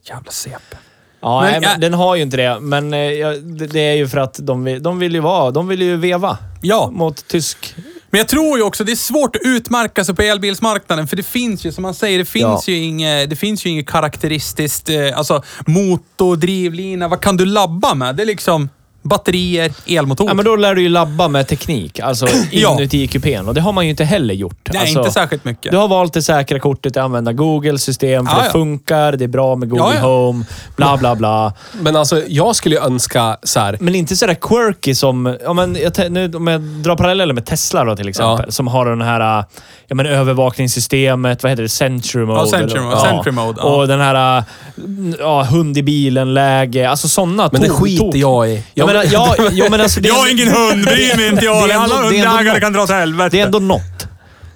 Jävla CP.
Ja,
Men
nej,
jag-
men den har ju inte det, men eh, jag- det det är ju för att de vill, de vill ju vara, de vill ju veva
Ja,
mot tysk.
men jag tror ju också det är svårt att utmärka sig på elbilsmarknaden för det finns ju, som man säger, det finns
Ja.
ju inget, det finns ju inget karaktäristiskt, eh, alltså motor, drivlina, vad kan du labba med? Det är liksom batterier, elmotor.
Ja, men då lär du ju labba med teknik, alltså
[clears throat] Ja.
inuti kupén. Och det har man ju inte heller gjort.
Nej,
alltså,
inte särskilt mycket. Ah,
Du har valt det säkra kortet, att använda Google-system, för
Ja, ja.
det funkar, det är bra med Google
Ja, ja.
Home, bla bla bla.
Men alltså, jag skulle ju önska så här...
Men inte sådär quirky som... Ja, men jag, te- nu, om jag drar paralleller med Tesla då till exempel, som har den här äh, ja, men övervakningssystemet, vad heter det? Century Mode.
Sentry Mode,
Ja.
Sentry Mode, ja.
Och den här äh, ja, hund i bilen-läge. Alltså sådana
Men det skiter jag i.
Jag menar, ja, jo, men alltså, det,
Jag har ingen hund, bryr mig inte jag.
Det är ändå-
Alla
det är ändå
hundägare
något.
kan dra åt helvete.
det är ändå något.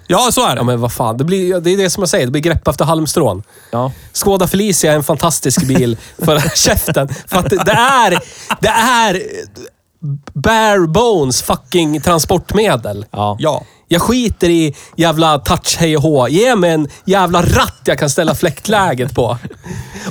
Ja, så är det.
Ja, men vad fan. Det, blir, det är det som jag säger. Det blir grepp efter halmstrån.
Ja.
Skoda Felicia är en fantastisk bil för [laughs] käften. För att det är, det är bare bones fucking transportmedel.
Ja.
Ja.
Jag skiter i jävla touch hej och hå. Ge mig en jävla ratt jag kan ställa fläktläget på.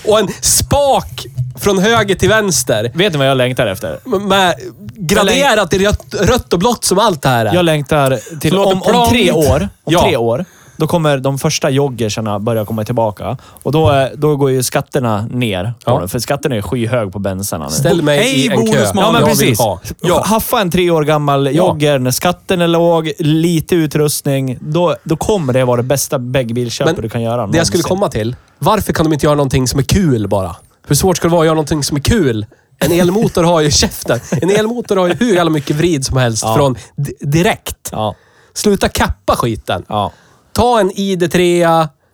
Och en spak från höger till vänster.
Vet ni vad jag längtar efter?
Med graderat i rött, rött och blått som allt det här
Jag
är.
längtar till
Slå
om,
det
om tre
prångt.
år. Om
Ja.
tre år. Då kommer de första joggersarna börja komma tillbaka. Och då, är, då går ju skatterna ner. på
Ja.
dem, För skatterna är skyhög på bensarna nu.
Ställ mig
Hej,
i en kö.
bonusmannen.
Ja, men
Jag vill
precis.
ha.
Ja.
Haffa en tre år gammal jogger när skatten är låg, lite utrustning. Då, då kommer det vara det bästa baggbilköpet
Men
du kan göra
Det jag skulle
någonsin.
komma till. Varför kan de inte göra någonting som är kul bara? Hur svårt ska det vara att göra någonting som är kul? En elmotor har ju [laughs] käften. En elmotor har ju hur jävla mycket vrid som helst
Ja.
från di- direkt.
Ja.
Sluta kappa skiten.
Ja.
Ta en ID3.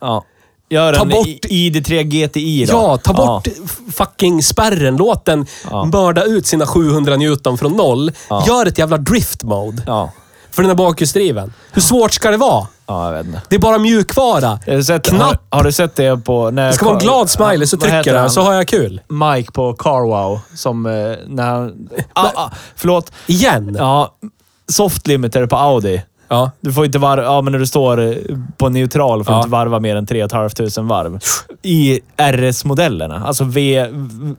ja. Gör
Ta
en
bort-
I- ID3 GTI då.
Ja, ta bort f- fucking spärren. Låt den
Ja.
mörda ut sina 700 Newton från noll.
Ja.
Gör ett jävla drift mode
Ja.
för den här bakhjulsdriven. Hur svårt ska det vara?
ja, jag vet inte.
Det är bara mjukvara.
Har du sett, har,
Knapp.
har du sett det på... När
Det ska vara en glad smiley så
Vad heter
trycker
han?
jag så har jag kul.
Mike på Carwow som eh, när han... Ah, ah, förlåt.
Igen.
Ja, soft limiter på Audi.
Ja.
Du får inte varva... Ja, men när du står eh, på neutral får du
Ja.
inte varva mer än 3 500 varv. I RS-modellerna. Alltså v,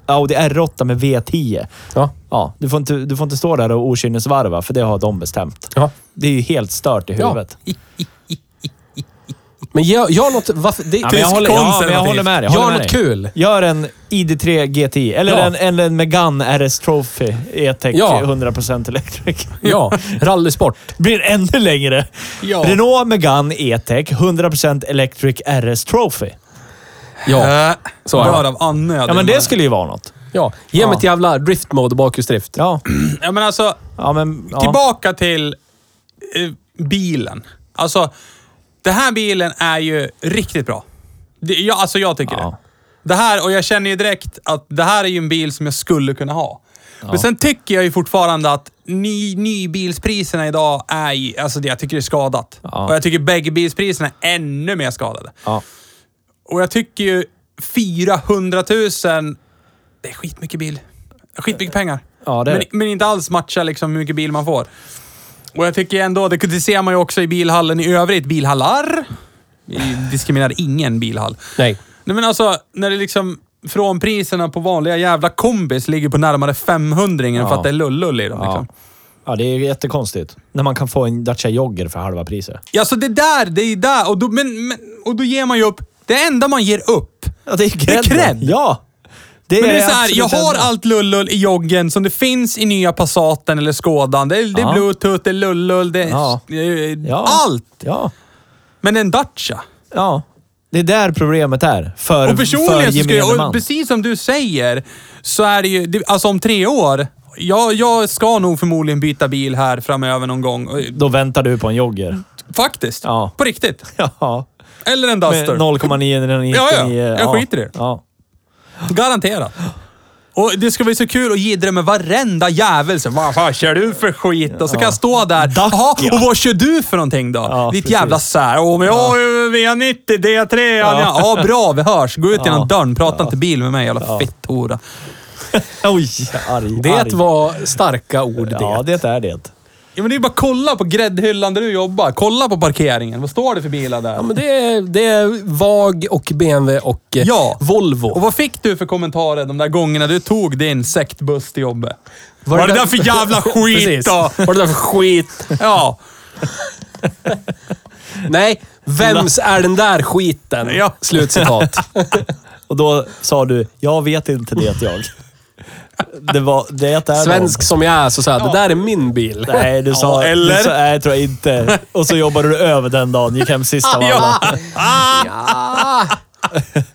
Audi R8 med V10.
Ja.
Ja, du får inte, du får inte stå där och okynnesvarva, för det har de bestämt.
ja.
Det är ju helt stört i
Ja.
huvudet.
Men gör, gör något... Varför, det,
men jag, håller, ja, men jag
konservativt.
håller med dig. jag
gör
håller med
något
dig.
kul.
Gör en ID3 GTI eller
Ja.
en, en, en Megane RS Trophy E E-Tech
Ja.
100% Electric.
Ja, [laughs] rallysport.
Blir ännu längre.
Ja.
Renault Megane E E-Tech 100% Electric RS Trophy.
Ja.
Äh,
så är det.
Därav Anne.
Ja, men det skulle ju vara något.
ja. Ge mig ett jävla drift mode och bakhjulsdrift.
Ja,
Ja, men alltså,
ja men... Ja.
tillbaka till eh, bilen. Alltså, den här bilen är ju riktigt bra. Det, jag, alltså, jag tycker
Ja.
det. Det här, och jag känner ju direkt att det här är ju en bil som jag skulle kunna ha. Men sen tycker jag ju fortfarande att ny, nybilspriserna idag är ju- alltså det, jag tycker det är skadat.
Ja.
Och jag tycker bägge bilspriserna är ännu mer skadade.
Ja.
Och jag tycker ju 400 000, det är skitmycket bil. Skitmycket pengar.
Eh, Ja, det är
men,
det.
men inte alls matchar liksom hur mycket bil man får. Och jag tycker ändå, det, det ser man ju också i bilhallen i övrigt, bilhallar. Vi diskriminerar ingen bilhall.
Nej.
Nej men alltså, när det liksom från priserna på vanliga jävla kombis ligger på närmare 500 ingen för att det är lullull i dem.
Ja.
Liksom.
ja, det är ju jättekonstigt. När man kan få en Dacia Jogger för halva priset.
Ja, så det där, det är där. Och då, men, men, och då ger man ju upp. Det enda man ger upp.
Ja, det är ju
Det är cred.
Ja!
Men det är så här, jag
absolut
har
enda.
allt lullull i joggen som det finns i nya Passaten eller Skådan. Det är, det är
Ja.
bluetooth, det är lullull, det är
Ja.
det är-
Ja.
allt.
Ja.
Men en Dacia.
Ja. Det är där problemet är. För,
Och personligen
för
så skulle
gemene
jag, och
man.
precis som du säger, så är det ju, det, alltså om tre år, jag, jag ska nog förmodligen byta bil här framöver någon gång.
Då väntar du på en jogger. [laughs]
Faktiskt.
Ja.
På riktigt.
Ja.
Eller en
Med
Duster.
0,999.
Ja, ja. Jag skiter i det.
Ja.
Garanterat. Och det ska bli så kul att jiddra med varenda jävel. Så, Vad fan kör du för skit? Och så kan jag stå där. Jaha, och vad kör du för någonting då? Ditt
precis.
jävla sär. Åh, men jag har ju V90, D3. Ja. Ja. bra. Vi hörs. Gå ut genom dörren. Prata inte bil med mig, jävla fitthora.
Oj, arg.
Det
arg.
var starka ord det.
Ja, det är det.
Ja, men det är bara att kolla på gräddhyllan där du jobbar. Kolla på parkeringen. Vad står det för bilar där?
Ja, men det, är, det är VAG och BMW och eh,
Ja.
Volvo.
Och vad fick du för kommentarer de där gångerna du tog din sektbuss till jobbet?
Var
Vad
det
är det
där-
där för
[laughs]
jävla skit
Precis.
då?
Vad är det där för skit?
Ja.
Nej, vems är den där skiten?
Ja.
Slutcitat.
Och då sa du, jag vet inte det jag. Det var, det är någon.
Svensk som jag är så sa jag, det där är min bil.
Nej, du sa...
Ja, eller?
Du sa, nej, jag tror jag inte. Och så jobbade du över den dagen, gick hem sista
Ah, ja. Ah.
varvet.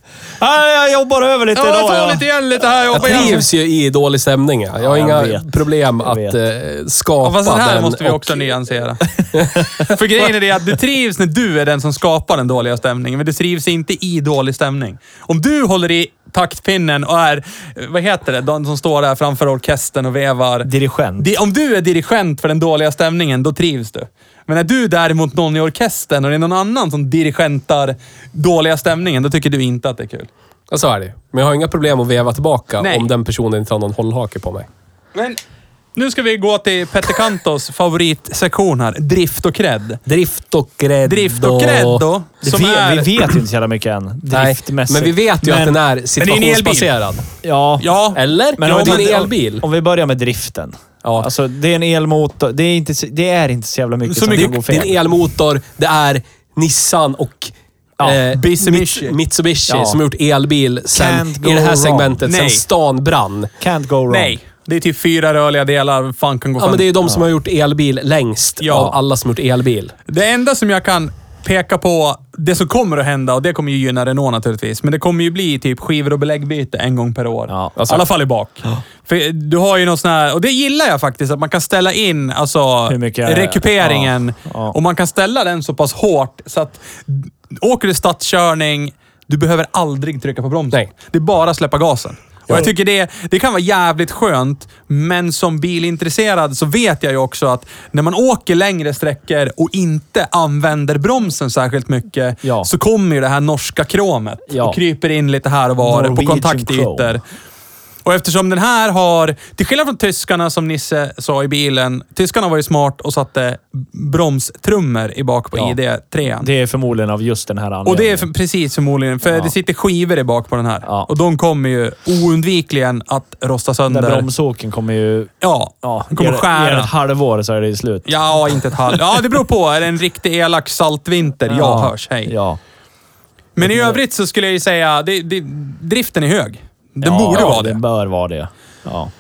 Nej, jag jobbar över lite
Ja, jag
idag.
tar
ja.
lite igen lite här.
Jag
jobbar igen.
trivs ju i dålig stämning. Jag har
jag
inga
vet.
problem
Jag
att
vet.
eh,
Ja,
skapa
fast den här
den.
måste vi också nyansera. [laughs] För grejen är det att du trivs när du är den som skapar den dåliga stämningen, men du trivs inte i dålig stämning. Om du håller i taktpinnen och är, eh, vad heter det, de som står där framför orkestern och vevar.
Dirigent.
Di- Om du är dirigent för den dåliga stämningen, då trivs du. Men när du däremot någon i orkestern och det är någon annan som dirigentar dåliga stämningen, då tycker du inte att det är kul.
Ja, så är det ju. Men jag har inga problem att veva tillbaka
Nej.
om den personen inte har någon hållhake på mig.
Men nu ska vi gå till Petter Kantos favoritsektion här, drift och cred.
Drift och gräddo.
Drift och gräddo,
Det
som
vi,
är...
vi vet ju inte så jävla mycket än,
Nej,
driftmässigt.
men vi vet ju att
Men-
den är situationsbaserad.
Ja.
Ja.
Eller?
Men
Men ja,
om,
det är
man-
en elbil.
Om, om vi börjar med driften.
Ja.
Alltså, det är en elmotor. Det är inte, så- det är inte så jävla mycket
Så
som
mycket-
kan gå
Det är
fel.
en elmotor, det är Nissan och
Ja,
Mitsubishi.
Mits- Mitsubishi
Ja.
som har gjort elbil sen,
Can't
i det här
go wrong.
segmentet sen
Nej.
stan brann.
Can't go wrong.
Nej, det är typ fyra rörliga delar. Fan kan gå
Ja, men det är
det,
ju de som har gjort elbil längst
Ja.
av alla som har gjort elbil.
det enda som jag kan peka på det som kommer att hända och det kommer ju gynna Renault naturligtvis. Men det kommer ju bli typ skivor och beläggbyte en gång per år.
Ja,
I alla fall i bak. För du har ju någon sån här, och det gillar jag faktiskt, att man kan ställa in alltså,
Hur mycket-
rekuperingen.
Ja, ja.
Och man kan ställa den så pass hårt så att åker du stadskörning, du behöver aldrig trycka på bromsen.
Nej.
Det är bara att släppa gasen. Och jag tycker det, det kan vara jävligt skönt, men som bilintresserad så vet jag ju också att när man åker längre sträckor och inte använder bromsen särskilt mycket
Ja.
så kommer ju det här norska kromet
Ja.
och kryper in lite här och var på
Norwegian
kontaktytor.
chrome.
Och eftersom den här har, till skillnad från tyskarna som Nisse sa i bilen, tyskarna var ju smart och satte bromstrummor i bak på
Ja.
ID3.
Det är förmodligen av just den här anledningen.
Och det är för, precis förmodligen, för
Ja.
det sitter skivor i bak på den här.
Ja.
Och de kommer ju oundvikligen att rosta sönder.
Där bromsåken kommer ju...
Ja,
Ja,
kommer
ger-
skära.
ger ett halvår så är det ju slut.
Ja, inte ett halvt. Ja, det beror på. Är det en riktig elak saltvinter? Ja, hörs. Hej.
Ja.
Men i övrigt så skulle jag ju säga, det, det, driften är hög. Den
ja,
borde
ja,
vara
Den
det.
bör vara det. Ja.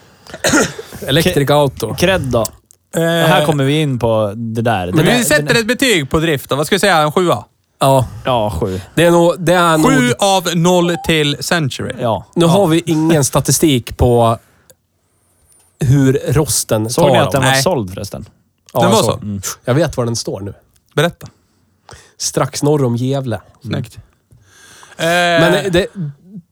Electric Auto.
Cred då?
Eh,
här kommer vi in på det där. Den
Men
är-
vi
den
sätter
är-
ett betyg på drift då. Vad ska vi säga? En sjua?
Ja,
Ja, sju.
det är nog... Det är nog
Sju av noll till Century.
Ja.
nu har vi ingen statistik på hur rosten
Såg
tar
ni att
dem.
den Mm. var
Nej.
såld förresten?
Ja,
Den
jag
var
såg.
så.
Jag vet var den står nu.
Berätta.
Mm.
Strax norr om
Eh.
Gävle.
Snyggt.
Men
Men,
eh, det,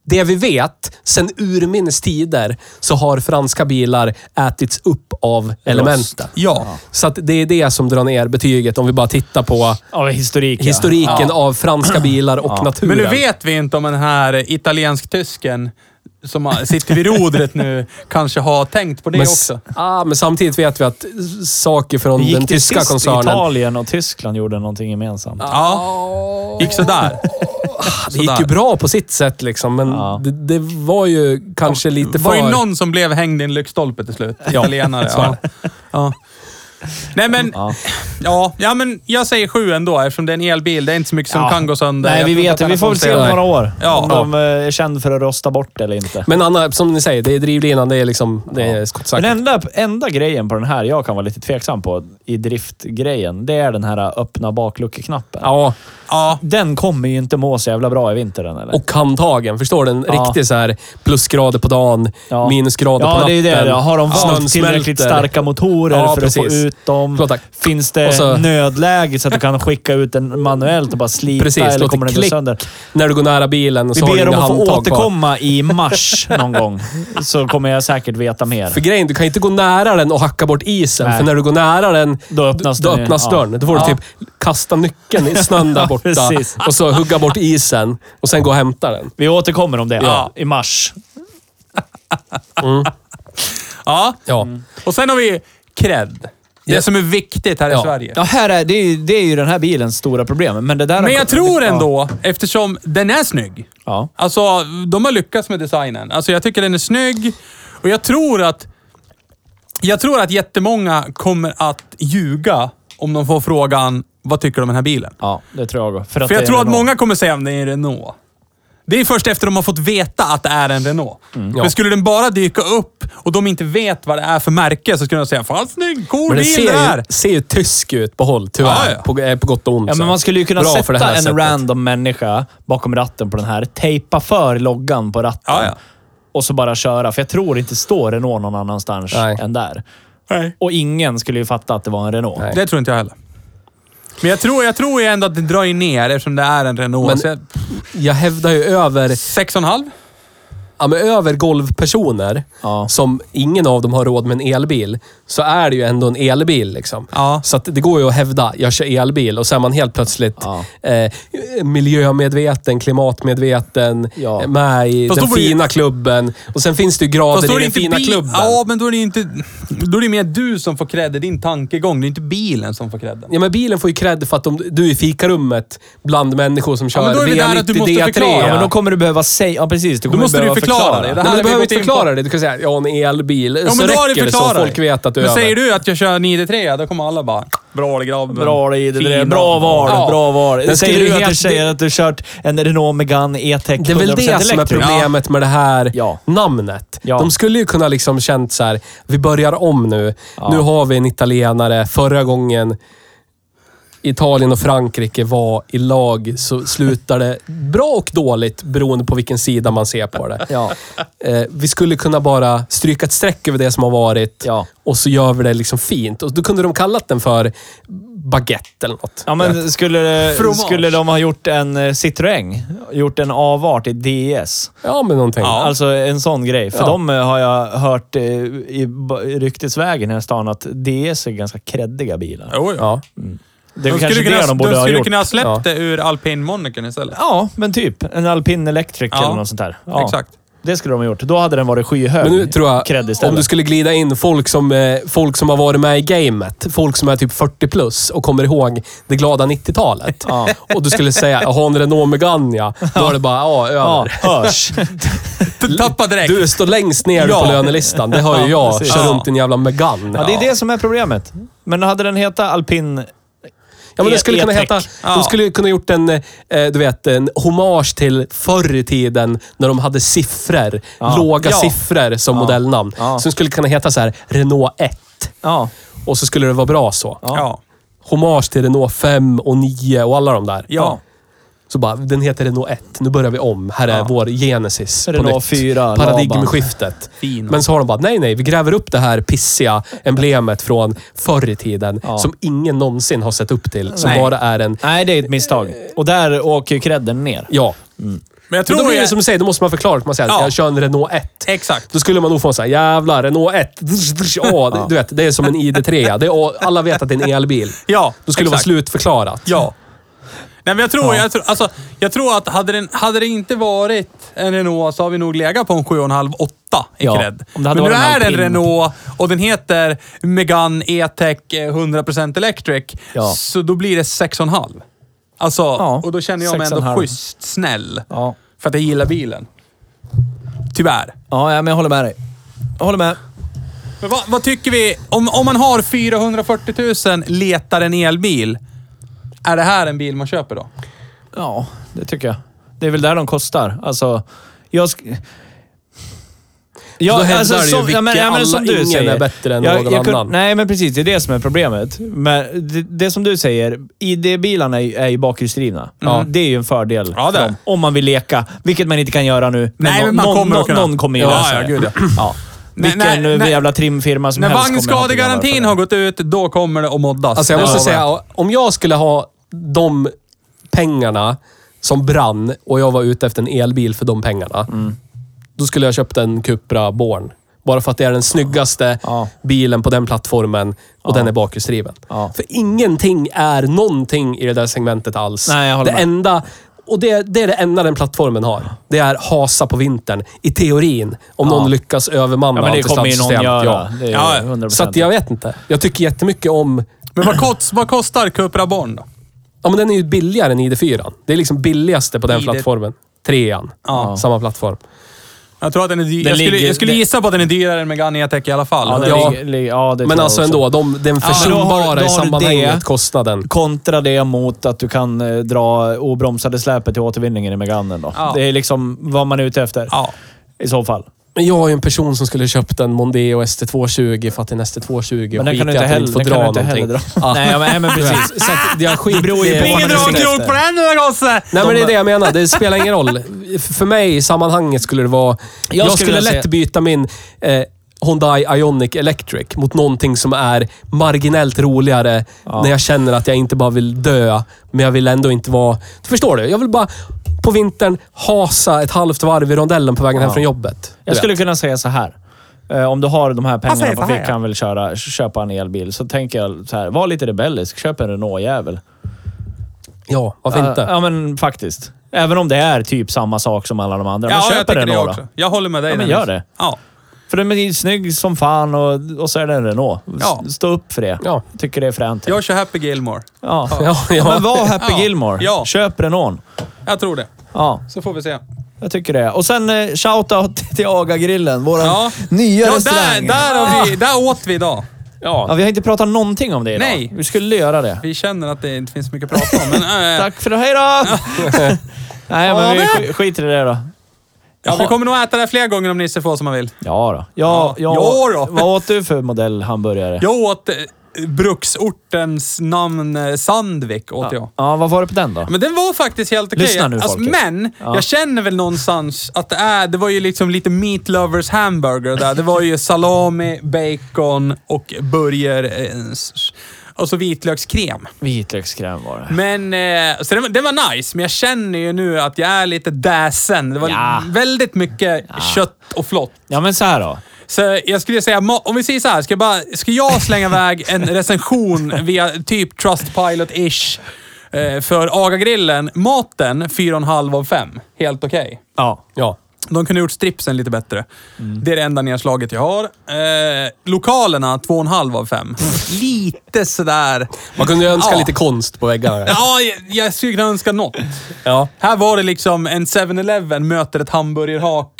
det vi vet, sen urminnes tider, så har franska bilar ätits upp av elementen.
ja.
Så att det är det som drar ner betyget om vi bara tittar på
Av historik. ja.
historiken av franska bilar och
Men
naturen.
nu vet vi inte om den här italiensk-tysken som har- sitter vid rodret
[laughs]
nu kanske har tänkt på det
men, s-
också.
ah, men samtidigt vet vi att s- saker från
Gick
den
till
tyska
sist
koncernen...
Italien och Tyskland gjorde någonting gemensamt.
Ja. Gick sådär.
Det gick ju
Sådär.
bra på sitt sätt liksom, men
Ja.
det, det var ju kanske lite
Det var
för...
ju någon som blev hängd i en lyktstolpe till slut. Italienare.
så
Ja. Ja. Nej men,
Ja.
ja. ja men jag säger sju ändå eftersom det är en elbil. Det är inte så mycket som
Ja.
kan gå sönder.
Nej,
Jag
vi
tror
vet
att den
det. Vi
här
får väl se om
funkar.
några år.
Ja.
om de eh, är känd för att rosta bort eller inte.
Men Anna, som ni säger, det är drivlinan, det är liksom... Det är skottsäkert.
Men enda, enda grejen på den här jag kan vara lite tveksam på i driftgrejen, det är den här öppna bakluckeknappen.
Ja,
Ja.
Den kommer ju inte må så jävla bra i vintern eller?
och handtagen. Förstår du? En
Ja.
riktig så här plusgrader på dagen,
Ja.
minusgrader på
ja, det
natten.
är det. Har de
snön
valt tillräckligt
smälter.
starka motorer
Ja,
för att få
precis.
ut dem?
Förlåt, tack.
Finns det
Och så-
nödläge så att du kan skicka ut den manuellt och bara slita
Precis,
eller
låt det
kommer den gå
klick.
sönder?
När du går nära bilen och
Vi
så har du
ber om
inga
att få
handtag kvar.
återkomma i mars någon [laughs] gång, så kommer jag säkert veta mer.
För grejen, du kan inte gå nära den och hacka bort isen.
Nej.
För när du går nära den,
Då öppnas
då
den ju.
öppnas
Ja.
dörren. Då får
Ja.
du typ kasta nyckeln i
[laughs]
snön där borta.
precis.
och så hugga bort isen och sen gå och hämta den.
Vi återkommer om det
Ja.
i mars.
ja.
Ja.
Och sen har vi cred. Det
Ja.
som är viktigt här i
Ja.
Sverige.
Ja, här är, det, är ju, det är ju den här bilens stora problem. Men, det där
Men jag tror ändå, eftersom den är snygg.
Ja.
Alltså, de har lyckats med designen. Alltså, jag tycker den är snygg och jag tror att... Jag tror att jättemånga kommer att ljuga om de får frågan vad tycker du om den här bilen?
Ja, det tror jag också. att
För
det
jag
är
tror att
Renault.
många kommer säga om det är en Renault. Det är först efter de har fått veta att det är en Renault.
Mm, Ja.
Men skulle den bara dyka upp och de inte vet vad det är för märke så skulle de säga “Fan snygg, cool
Men den
bil det
ser
här!”
ju, ser ju tysk ut på håll, tyvärr.
Ja, ja.
På, eh, på gott och ont.
Ja,
så.
men man skulle ju kunna
Bra för det
sätta
här
en
sättet.
random människa bakom ratten på den här, tejpa för loggan på ratten
Ja, ja.
och så bara köra. För jag tror inte står Renault någon annanstans
Nej.
än där.
Nej.
Och ingen skulle ju fatta att det var en Renault.
Nej.
Det tror inte jag heller. Men jag tror, jag tror ju ändå att det drar ju ner eftersom det är en Renault.
Men-
Så jag,
Jag hävdar ju över,
sex och en halv?
ja, men över golvpersoner,
Ja.
som ingen av dem har råd med en elbil, så är det ju ändå en elbil. Liksom.
Ja.
Så att det går ju att hävda, jag kör elbil och så är man helt plötsligt eh, miljömedveten, klimatmedveten,
Ja.
eh, med i
Fast
den
då var det ju-
fina klubben. Och sen finns det ju
Fast
grader
då
i
är det
den
inte
fina
bil-
klubben.
Ja, men då är det ju inte... Då är det mer du som får cred i din tankegång. Det är inte bilen som får credden.
Ja, men bilen får ju cred för att om du är i fikarummet bland människor som kör
men då är vi där att du måste förklara.
Ja, men då
då
kommer du behöva säga... Ja, precis. Du kommer
måste du
behöva
ju förklara det. Det här
Nej, men
har vi
du behöver
gått
inte
in
förklara det. Du kan säga, ja en elbil.
Ja,
så
men då har du
räcker det så
förklarat.
folk vet att du är
men
över.
säger du att jag kör 9-3, då kommer alla bara... Bra det grabben.
Bra det, det, det,
Fina."
bra val,
Ja.
bra val.
Men
säger
skulle
du
du
att du
helt-
säger att du kört en Renault Megane E-Tech 100%
Det är väl det som är
elektro?
problemet med det här
Ja.
namnet.
Ja.
De skulle ju kunna liksom känt så här, vi börjar om nu. Nu har vi en italienare. Förra gången Italien och Frankrike var i lag så slutar det bra och dåligt beroende på vilken sida man ser på
[laughs]
det.
Ja.
Eh, vi skulle kunna bara stryka ett streck över det som har varit
Ja.
och så gör vi det liksom fint. Och då kunde de kallat den för baguette eller något.
Ja, men skulle, det-
Fromage.
skulle de ha gjort en eh, Citroën? Gjort en avart i DS?
Ja, men någonting.
Alltså en sån grej. För
Ja.
de eh, har jag hört eh, i ba- i ryktesvägen här i stan att DS är ganska kreddiga bilar.
Jo, jo.
Ja.
Det är
De skulle,
kanske det
kunna,
de borde
de
ha
skulle
gjort.
kunna ha släppt
Ja.
det ur alpinmonikern istället.
Ja, men typ. En Alpin Electric
Ja.
eller något sånt där. Ja.
Exakt.
Det skulle de ha gjort. Då hade den varit skyhög.
Men nu tror
Cred
jag,
istället.
om du skulle glida in folk som, eh, folk som har varit med i gamet, folk som är typ 40 plus och kommer ihåg det glada 90-talet. Och du skulle säga, jag har en Renault Megane ja. Då är det bara, ja, över.
Ja, hörs.
Tappa direkt.
Du står längst ner
Ja.
på lönelistan. Det hör ju
Ja,
jag.
precis.
Kör
Ja.
runt i en jävla Megane.
Ja, det är det som är problemet. Men hade den hetat Alpin...
Ja, men det skulle kunna
E-tech.
heta...
Ja.
De skulle kunna gjort en, eh, du vet, en hommage till förr i tiden när de hade siffror.
Ja.
Låga
Ja.
siffror som modellnamn.
Ja.
Som skulle kunna heta så här Renault 1.
Ja.
Och så skulle det vara bra så.
Ja.
Hommage till Renault 5 och 9 och alla de där.
Ja.
Så bara, den heter Renault 1. Nu börjar vi om. Här är vår Genesis. på
Renault
nytt.
4,
Paradigmskiftet.
Fin.
Men så har de bara, nej, nej, vi gräver upp det här pissiga emblemet från förr i tiden. Som ingen någonsin har sett upp till. Som
Nej.
bara är en...
Nej, det är ett misstag. Och där åker ju credden ner.
Ja.
Men jag
Men då
tror
blir det
jag,
som du säger, då måste man förklara. att Man säger,
Ja.
jag kör en Renault 1.
Exakt.
Då skulle man nog få en sån här, jävlar, Renault 1. Ja, det- du vet, det är som en ID3. Det är, alla vet att det är en elbil.
Ja,
Då skulle det vara
exakt.
slutförklarat.
Ja. [laughs] Nej, men jag tror, jag tror, alltså, jag tror att hade, den, hade det inte varit en Renault så har vi nog legat på en 7,5-8 i
Ja,
cred.
om det hade
men nu
varit en
är det en
Alpin.
Renault och den heter Megane E-Tech eh, 100% Electric.
Ja.
Så då blir det 6,5. Alltså,
Ja,
och då känner jag mig ändå
6,5.
schysst snäll.
Ja.
För att jag gillar bilen. Tyvärr.
Ja, ja, men jag håller med dig. Jag håller med.
Men vad, vad tycker vi? Om, om man har 440 000, letar en elbil. Är det här en bil man köper då?
Ja, det tycker jag. Det är väl där de kostar. Alltså, jag... Sk- alltså,
då hävdar du ju vilka alla- ingen är bättre än någon
kunde-
annan.
Nej, men precis. Det är det som är problemet. Men det, det som du säger, ID-bilarna är, ju- är ju bakhjulsdrivna. Mm. Det är ju en fördel
Ja, det
för
är.
dem, om man vill leka, vilket man inte kan göra nu.
Nej,
nå-
men man
någon,
kommer att
nå-
kunna.
någon kommer ju
Ja,
lösa
ja,
det.
gud, ja.
Ja.
Nej,
Vilken
nej, nej.
jävla trimfirma som
När
helst kommer att ha programvara för
vagnskadegarantin
det.
har gått ut, då kommer det att moddas.
Alltså jag måste
Ja.
säga, om jag skulle ha de pengarna som brann och jag var ute efter en elbil för de pengarna.
Mm.
Då skulle jag köpt en Cupra Born. Bara för att det är den snyggaste
Ja.
bilen på den plattformen och den är bakhjulsdriven.
Ja.
För ingenting är någonting i det där segmentet alls.
Nej, jag håller
det
med.
enda... Och det, det är det enda den plattformen har. Det är hasa på vintern. I teorin. Om någon lyckas övermanna
Ja, men det kommer ju någon
antisladdsystemet.
göra.
Ja.
Det är
Ja, ja.
100%.
Så att jag vet inte. Jag tycker jättemycket om
Men vad, kost, vad kostar Cupra Born då?
Ja, men den är ju billigare än ID4. Det är liksom billigaste på den
ID.
plattformen. Trean.
Ja.
Samma plattform.
Jag tror att den är dyr.
Den
Jag skulle,
ligger-
jag skulle
den-
gissa på att den är dyrare än Megane E-Tech i alla fall.
Ja, det
Ja.
ligger- ligger- ja, det tror
Men
jag
alltså
också.
ändå, de, den försumbara
då har du
i sammanhanget,
det.
kostnaden.
Kontra det mot att du kan eh, dra obromsade släpet till återvinningen i Meganen då.
Ja.
Det är liksom vad man är ute efter.
Ja.
I så fall.
Men jag är ju en person som skulle köpt en Mondeo ST220 för att en ST220
Men den kan
skiter
du
i
inte
att den
heller,
inte får
den kan
dra
du inte heller
någonting.
dra.
Ja.
Nej, men, nej, men precis.
Så att jag skiter
beror ju
i
på
vad
Ingen
man
drar-
är-
dragkrok på den nu gosse!
Nej, men det är det jag menar.
[laughs]
Det spelar ingen roll. F- För mig i sammanhanget skulle det vara... Jag,
skulle
skulle,
vilja
lätt
se-
byta min eh, Hyundai Ioniq Electric mot någonting som är marginellt roligare när jag känner att jag inte bara vill dö, men jag vill ändå inte vara... Du förstår du? Jag vill bara på vintern hasa ett halvt varv i rondellen på vägen hem från jobbet. Du
Jag
vet.
skulle kunna säga så här. Eh, Om du har de här pengarna
säger
på
så här,
fickan kan väl köra, köpa en elbil. Så tänker jag så här, var lite rebellisk. Köp en Renault-jävel. Eh,
Ja, varför inte?
Ja, ja, men faktiskt. Även om det är typ samma sak som alla de andra.
Ja,
men
jag
köp en
tycker det
Renault då.
också. Jag håller med dig.
Ja, men
Dennis.
gör det.
Ja.
För den är ju snygg som fan och, och så är den Renault. S-
Ja.
Stå upp för det.
Ja.
Tycker det är fränt.
Jag kör Happy Gilmore.
Ja.
Ja, ja.
Men var Happy
Ja.
Gilmore.
Ja.
Köp Renault.
Jag tror det.
Ja,
Så får vi se.
jag tycker det. Och sen eh, shoutout [laughs] till Aga-grillen. Våran
Ja.
Nya
Ja, där,
restaurang.
där, har vi, där åt vi idag.
Ja, vi har inte pratat någonting om det idag.
Nej.
Vi skulle göra det.
Vi känner att det inte finns mycket att prata om,
[laughs]
men... eh,
Tack för det. Hej då! [laughs] Nej, men vi sk- skiter i det då.
ja, vi kommer nog äta det här fler gånger om Nisse får som han vill.
Ja då. Ja,
Ja.
ja,
Ja då.
Vad åt du för modell hamburgare?
Jag åt eh, bruksortens namn eh, Sandvik åt jag.
Ja, vad var det på den då?
Men den var faktiskt helt okej. Alltså,
Lyssna nu, folket.
Men
Ja.
jag känner väl någonstans att det är, det var ju liksom lite meat lovers hamburger där. Det var ju salami, bacon och burger. eh, s- Och så vitlökskräm.
Vitlökskräm var det.
Men, eh, så den, var- den var nice, men jag känner ju nu att jag är lite däsen. Det var
Ja.
väldigt mycket kött och flott.
Ja, men så här då.
Så jag skulle säga, ma- om vi säger så här, ska jag, bara, ska jag slänga iväg en recension via typ Trustpilot-ish eh, för AGA-grillen. Maten 4,5 av 5. Helt okej.
Ja.
Ja.
De kunde ha gjort stripsen lite bättre. Det är det enda nedslaget jag har. Eh, lokalerna 2,5 av 5. Lite sådär...
Man kunde ju önska
Ja.
lite konst på väggarna.
Ja, jag, jag skulle kunna önska något.
Ja.
Här var det liksom en 7-Eleven möter ett hamburgerhak.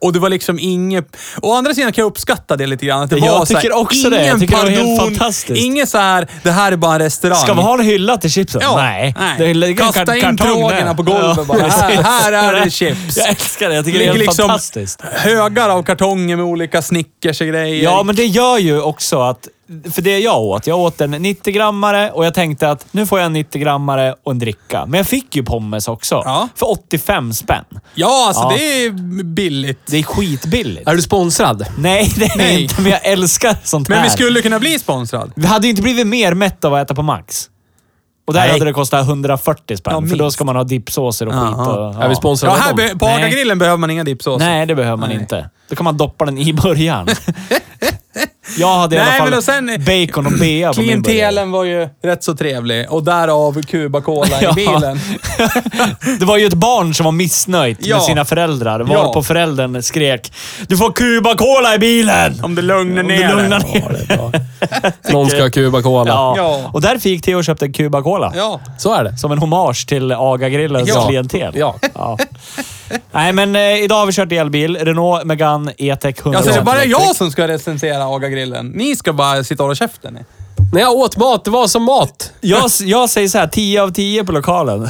Och det var liksom inget... Å andra sidan kan jag uppskatta det lite grann. Att det
Jag
var så här,
tycker också det. Jag
ingen
tycker det var helt
pardon,
fantastiskt.
Inget så här, det här är bara en restaurang.
Ska vi ha en hylla till chipsen?
Ja,
nej.
nej.
Det ligger en
Kasta
kart-
in
kartong där.
drogerna på golvet bara. Här-
precis.
här
[laughs]
är det chips.
Jag älskar det. Jag
Det
tycker det är
ligger
helt
liksom
fantastiskt.
högar av kartonger med olika Snickers och grejer.
Ja, men det gör ju också att... För det jag åt, jag åt en 90-grammare och jag tänkte att nu får jag en 90-grammare och en dricka. Men jag fick ju pommes också.
Ja.
För 85 spänn.
ja alltså
Ja.
det är billigt.
Det är skitbilligt.
Är du sponsrad?
Nej, det är
Nej.
inte. Men jag älskar sånt
Men
här.
vi skulle kunna bli sponsrad.
Vi hade ju inte blivit mer mätt av att äta på Max. Och där
Nej.
hade det kostat 140 spänn,
Ja,
för då
minst.
ska man ha dippsåser och skit.
Jaha.
Och,
Är vi sponsrade
Ja,
av
här be-
dem?
på
Nej.
Aga-grillen behöver man inga dippsåser.
Nej, det behöver man
Nej.
inte. Då kan man doppa den i
[laughs]
början. Jag hade i
Nej, men
alla
och
fall
sen-
bacon och bea på min burgare.
Klientelen var ju rätt så trevlig och därav Cuba-Cola
[laughs] Ja.
i bilen.
Det var ju ett barn som var missnöjt
Ja.
med sina föräldrar, varpå
Ja.
föräldern skrek “Du får Cuba Cola i bilen!”
Om det lugnar
Om du
ner
lugnar
det.
ner dig. [laughs]
Någon ska ha Cuba Cola.
Ja.
Ja.
Och därför gick Theo och köpte en Cuba Cola.
Ja.
Så är det.
Som en hommage till AGA-grillens
Ja.
klientel.
Ja.
Ja. Nej, men eh, idag har vi kört elbil. Renault Megane E-Tech 100%
Alltså, det är bara
elektrik.
jag som ska recensera Aga-grillen. Ni ska bara sitta och hålla käften. ni.
När jag åt mat, det var som mat.
Jag, jag säger så här, 10 av 10 på lokalen.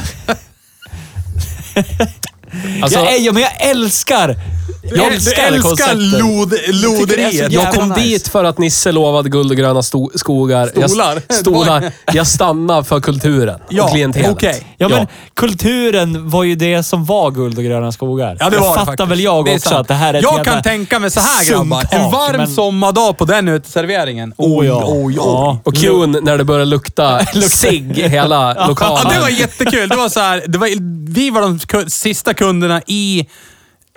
Alltså,
jag, är- ja, men jag älskar!
Du-
Jag älskar,
du
det
älskar
konceptet.
lod, loderiet.
jag kom
nice.
dit för att Nisse lovade guld och gröna sto- skogar.
Stolar.
Jag, [laughs] stolar. jag stannar för kulturen och klientelet.
okej.
Ja, men kulturen var ju det som var guld och gröna skogar.
Ja, det
jag
var det
fattar
faktiskt.
väl jag
Det är
också
sant.
att det här är ett
Jag
jävla
kan tänka mig så här grabbar.
sunkak,
En varm
men-
sommardag på den uteserveringen.
Oh, ja.
Oj, oj,
Ja.
oj.
Och Qn när det
[laughs]
började lukta cigg i hela lokalen.
Ja, det var jättekul. Det var så här, det var, vi var de ku- sista kunderna i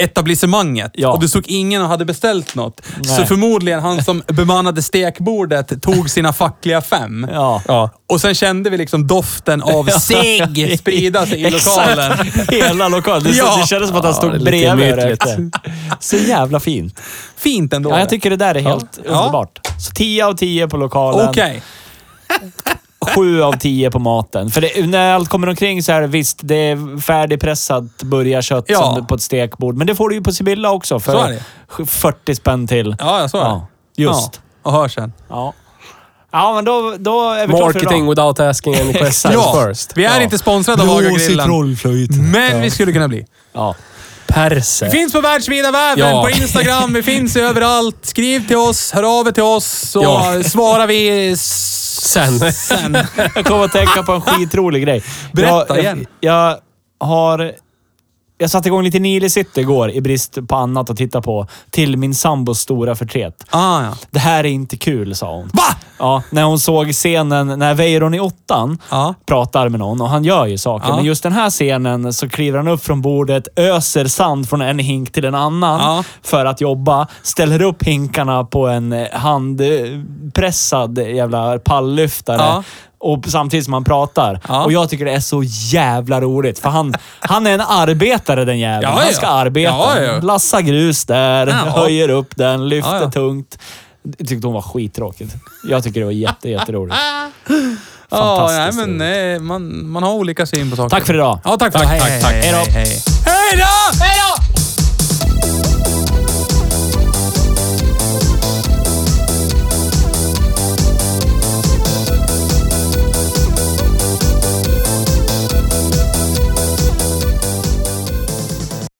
etablissemanget
Ja.
och det stod ingen och hade beställt något.
Nej.
Så förmodligen han som bemannade stekbordet tog sina fackliga fem.
Ja.
Ja.
Och sen kände vi liksom doften
[laughs]
av cigg sprida sig i
Exakt.
lokalen.
[laughs] Hela lokalen. Det,
Ja.
det kändes som att han
det är
stod
lite
bredvid och
gemytligt.
rökte. [laughs] Så jävla fint.
Fint ändå.
Ja, jag tycker det där är helt
Ja.
underbart. Så 10 av 10 på lokalen.
Okej.
7 av 10 på maten. För det, när allt kommer omkring så här, visst, det är färdigpressat burgarkött
Ja.
som på ett stekbord. Men det får du ju på Sibylla också
Så
för
är det.
40 spänn till.
Ja, jag såg det.
Ja, just.
Ja, och hör sen.
Ja. Ja, men då, då är vi klara för
Marketing
idag.
without asking any
[laughs]
questions
Ja,
first.
vi är inte sponsrade av Hagagrillen. Men vi skulle kunna bli.
Ja.
Perser.
Vi finns på världsvida världen,
Ja.
på Instagram, vi finns överallt. Skriv till oss, hör av er till oss så
Ja.
svarar vi s-
[laughs]
Sen.
sen.
Jag kommer att
[laughs]
tänka på en skitrolig grej.
Berätta
jag,
igen.
Jag, jag har... Jag satte igång lite Nile City igår i brist på annat att titta på. Till min sambos stora förtret.
Ah, ja.
Det här är inte kul, sa hon.
Va?
Ja, när hon såg scenen när Veiron i åttan
Ja.
pratar med någon och han gör ju saker.
Ja.
Men just den här scenen så kliver han upp från bordet, öser sand från en hink till en annan
Ja.
för att jobba. Ställer upp hinkarna på en eh, handpressad jävla palllyftare.
Ja.
Och samtidigt som han pratar.
Ja.
Och jag tycker det är så jävla roligt. För han, han är en arbetare den jäveln.
Ja,
han
ja.
ska arbeta.
Ja, ja.
Lassa grus där,
Ja.
höjer upp den, lyfter
Ja, ja.
tungt. Jag tyckte hon var skittråkigt. Jag tycker det var jätte, jätteroligt.
Ja, nej,
Fantastiskt.
men eh, man, man har olika syn på saker.
Tack för idag.
Ja, tack för
Tack,
idag.
tack, tack.
Hej, hej, hej. Hej då! Hej då!